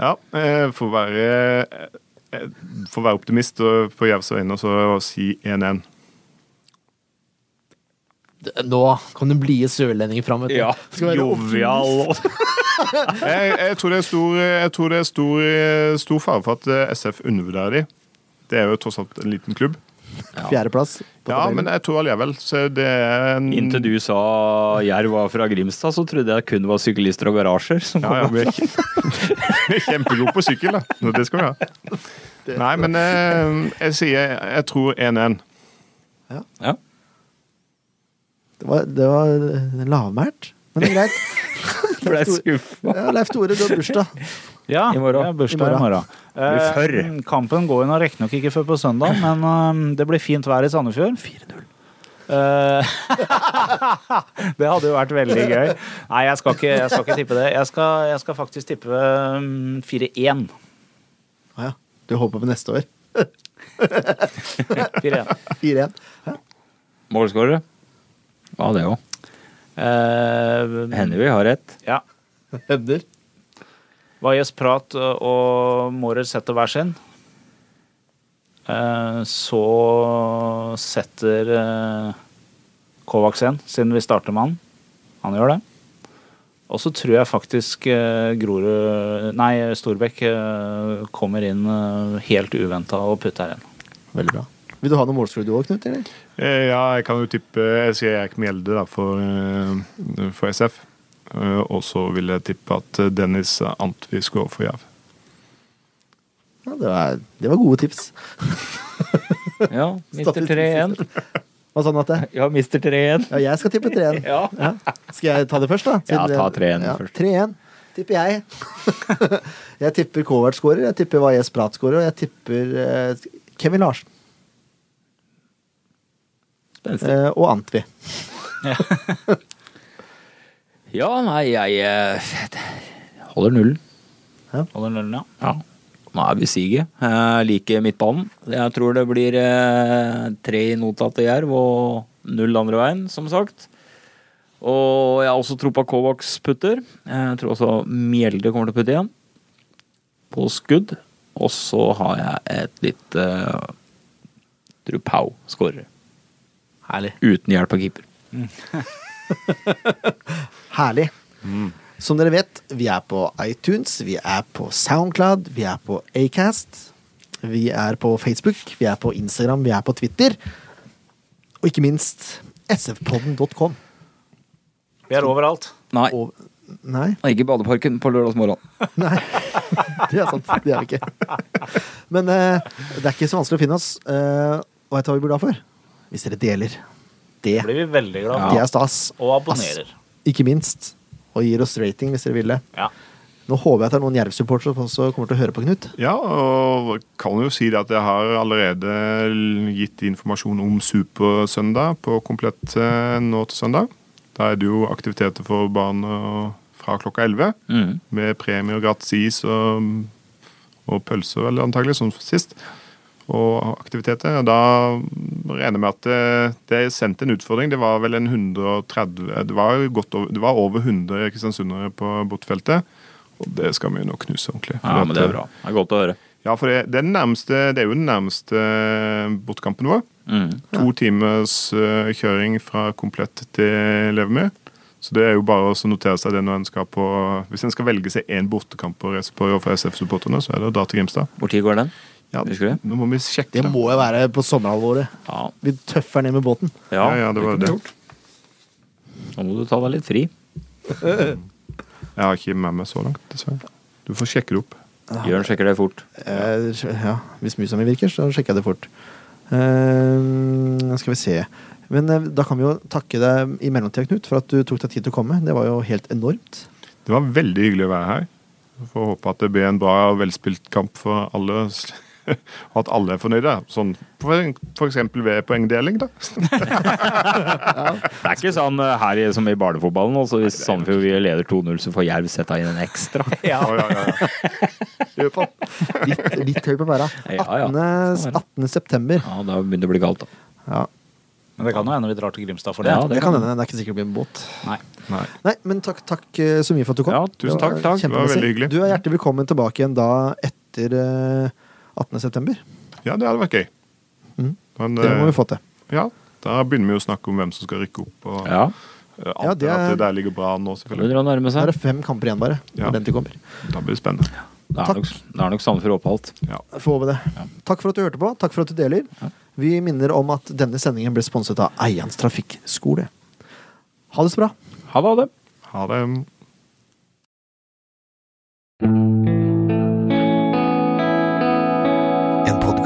Ja, eh, for å være, eh, for å være optimist og på Jervs vegne og så si 1-1. Nå kom den blide sørlendingen fram. jovial. Jeg, jeg tror det er, stor, jeg tror det er stor, stor fare for at eh, SF undervurderer de. Det er jo tross alt en liten klubb. Fjerdeplass. på Ja, tabellen. men jeg tror allikevel. Så det er en Inntil du sa Jerv var fra Grimstad, så trodde jeg det kun var syklister og garasjer. Som Ja, [laughs] ja, vi er kjem- vi er kjempegode på sykkel, da. Så Det skal vi ha. Nei, men eh, jeg sier Jeg tror 1-1. Ja. Det var, det var lavmælt, men det er greit. Ble skuffa. Ja, Leif Tore, du har bursdag. Ja, I morgen. det er bursdag i I morgen. blir før. Eh, kampen går jo nå riktignok ikke før på [laughs] søndag, men eh, det blir fint vær i Sandefjord. 4-0. [laughs] det hadde jo vært veldig gøy. Nei, jeg skal ikke, jeg skal ikke tippe det. Jeg skal, jeg skal faktisk tippe mm, 4-1. [laughs] Ah, ja. Du håper på neste år? 4-1. 4-1. Målskårere? Ja, det òg. Eh, Hender vi har rett. Ja. Hender. Vajes Prat eh, og Mårer setter hver sin. Eh, Så setter eh, Kovacs en, siden vi starter med han. Han gjør det. Og så tror jeg faktisk eh, Grorud Nei, Storbekk eh, kommer inn eh, helt uventa og putter en. Veldig bra. Vil du ha noe målskårer du òg, Knut? Eller? Eh, Ja, jeg kan jo tippe Jeg sier Erik Mjelde da, for, eh, for SF. Eh, Og så vil jeg tippe at eh, Dennis Antvi scorer for Jerv. Ja, det, var, det var gode tips. Ja, mister 3-1. Hva sa Natte? Ja, mister 3-1. Ja, jeg skal tippe 3-1. Ja. Ja. Skal jeg ta det først, da? Ja, ta 3-1 først. 3-1 tipper jeg. [laughs] jeg tipper Kovac skårer, jeg tipper Vajez Prat skårer, og jeg tipper eh, Kevin Larsen. Eh, og Antvi. Ja, nei, jeg eh, holder nullen. Holder nullen, ja. Ja. Nå er vi i siget. Jeg liker midtbanen. Jeg tror det blir eh, tre nota til Jerv og null andre veien, som sagt. Og jeg har også tro på Kovacs putter. Jeg tror også Mjelde kommer til å putte igjen. På skudd. Og så har jeg et lite eh, Drupau skårer. Herlig. Uten hjelp av keeper. Mm. Herlig. Som dere vet, vi er på iTunes, vi er på Soundcloud, vi er på Acast. Vi er på Facebook, vi er på Instagram, vi er på Twitter. Og ikke minst sfpodden.com. Vi er overalt. Nei, Og Nei, og ikke i badeparken på lørdagsmorgen. [laughs] nei. Det er sant. Det er vi ikke. Men eh, det er ikke så vanskelig å finne oss. Eh, og vet du hva vi blir glad for? Hvis dere deler. Det, Det blir vi veldig glad det for. er stas. Og abonnerer. Ass, Ikke minst. Og gir oss rating hvis dere vil det. Ja. Nå håper jeg at det er noen Jerv-supportere som også kommer til å høre på Knut. Ja, og kan jo si det at jeg har allerede gitt informasjon om Supersøndag på Komplett eh, nå til søndag. Da er det jo aktiviteter for barn og- fra klokka 11, Mhm. med premie og gratis is og, og pølser, vel antagelig, som sist. Og aktiviteter. Da regner jeg med at det, det er sendt en utfordring. Det var vel en 130 eh, Det var, jo godt over, det var over 100 kristiansundere på bortefeltet. Og det skal vi jo nå knuse ordentlig. Ja, fordi men at, det er bra. Det er godt å høre. ja, for det, det, er den nærmeste, det er jo den nærmeste bortkampen vår. Mhm. To timers eh, kjøring fra komplett til Levemyr. Så det er jo bare å notere seg det når en skal på Hvis en skal velge seg én bortekamp å reise på i år for SF-supporterne, så er det å dra til Grimstad. Hvor tid går den? Ja, Husker du det? Nå må vi sjekke. Det det. må jo være på sommerhalvåret. Ja. Vi tøffer ned med båten. Ja, ja, ja, det var kunne det. vi gjort. Nå må du ta deg litt fri. Jeg har ikke med meg så langt, dessverre. Du får sjekke det opp. Jørn sjekker det fort. Eh, ja, hvis musa mi virker, så sjekker jeg det fort. Eh, skal vi se. Men eh, da kan vi jo takke deg i mellomtida, Knut, for at du tok deg tid til å komme. Det var jo helt enormt. Det var veldig hyggelig å være her. Vi Får håpe at det blir en bra og velspilt kamp for alle. [laughs] Og at alle er fornøyde. Sånn for, for eksempel ved [laughs] poengdeling, da. Det er ikke sånn eh, her i- som i barnefotballen. Også hvis Sandefjord Vie leder 2-0, så får Jerv sette inn en ekstra. Ja, ja, ja, ja. Litt, litt høy på pæra. Ja, ja. 18. 18. september. Ja, Da begynner det å bli kaldt, da. Ja, Men det kan jo hende vi drar til Grimstad for det. Ja, det kan hende. Det er ikke sikkert det blir en båt. Nei. Nei. Nei, men takk, takk eh, så mye for at du kom. Ja, tusen Det var takk, takk. Det var kjempemessig. veldig hyggelig. Du er hjertelig velkommen tilbake igjen da etter eh, 18. september. Ja, det hadde vært gøy. Mhm. Men, Det må eh, vi få til. Ja, da begynner vi jo å snakke om hvem som skal rykke opp. Og Ja, eh, alt Ja, det det, at er- det der ligger bra an nå, da begynner selvfølgelig. det å nærme Da seg. er det fem kamper igjen, bare. Ja. Når den tid kommer. Da blir det spennende. Det Takk. er nok, det er nok Sandefjord oppholdt. Ja. Få over det. Takk for at du hørte på. Takk for at du deler. Vi minner om at denne sendingen ble sponset av Eians trafikkskole. Ha det så bra. Ha det, ha det. Ha det. En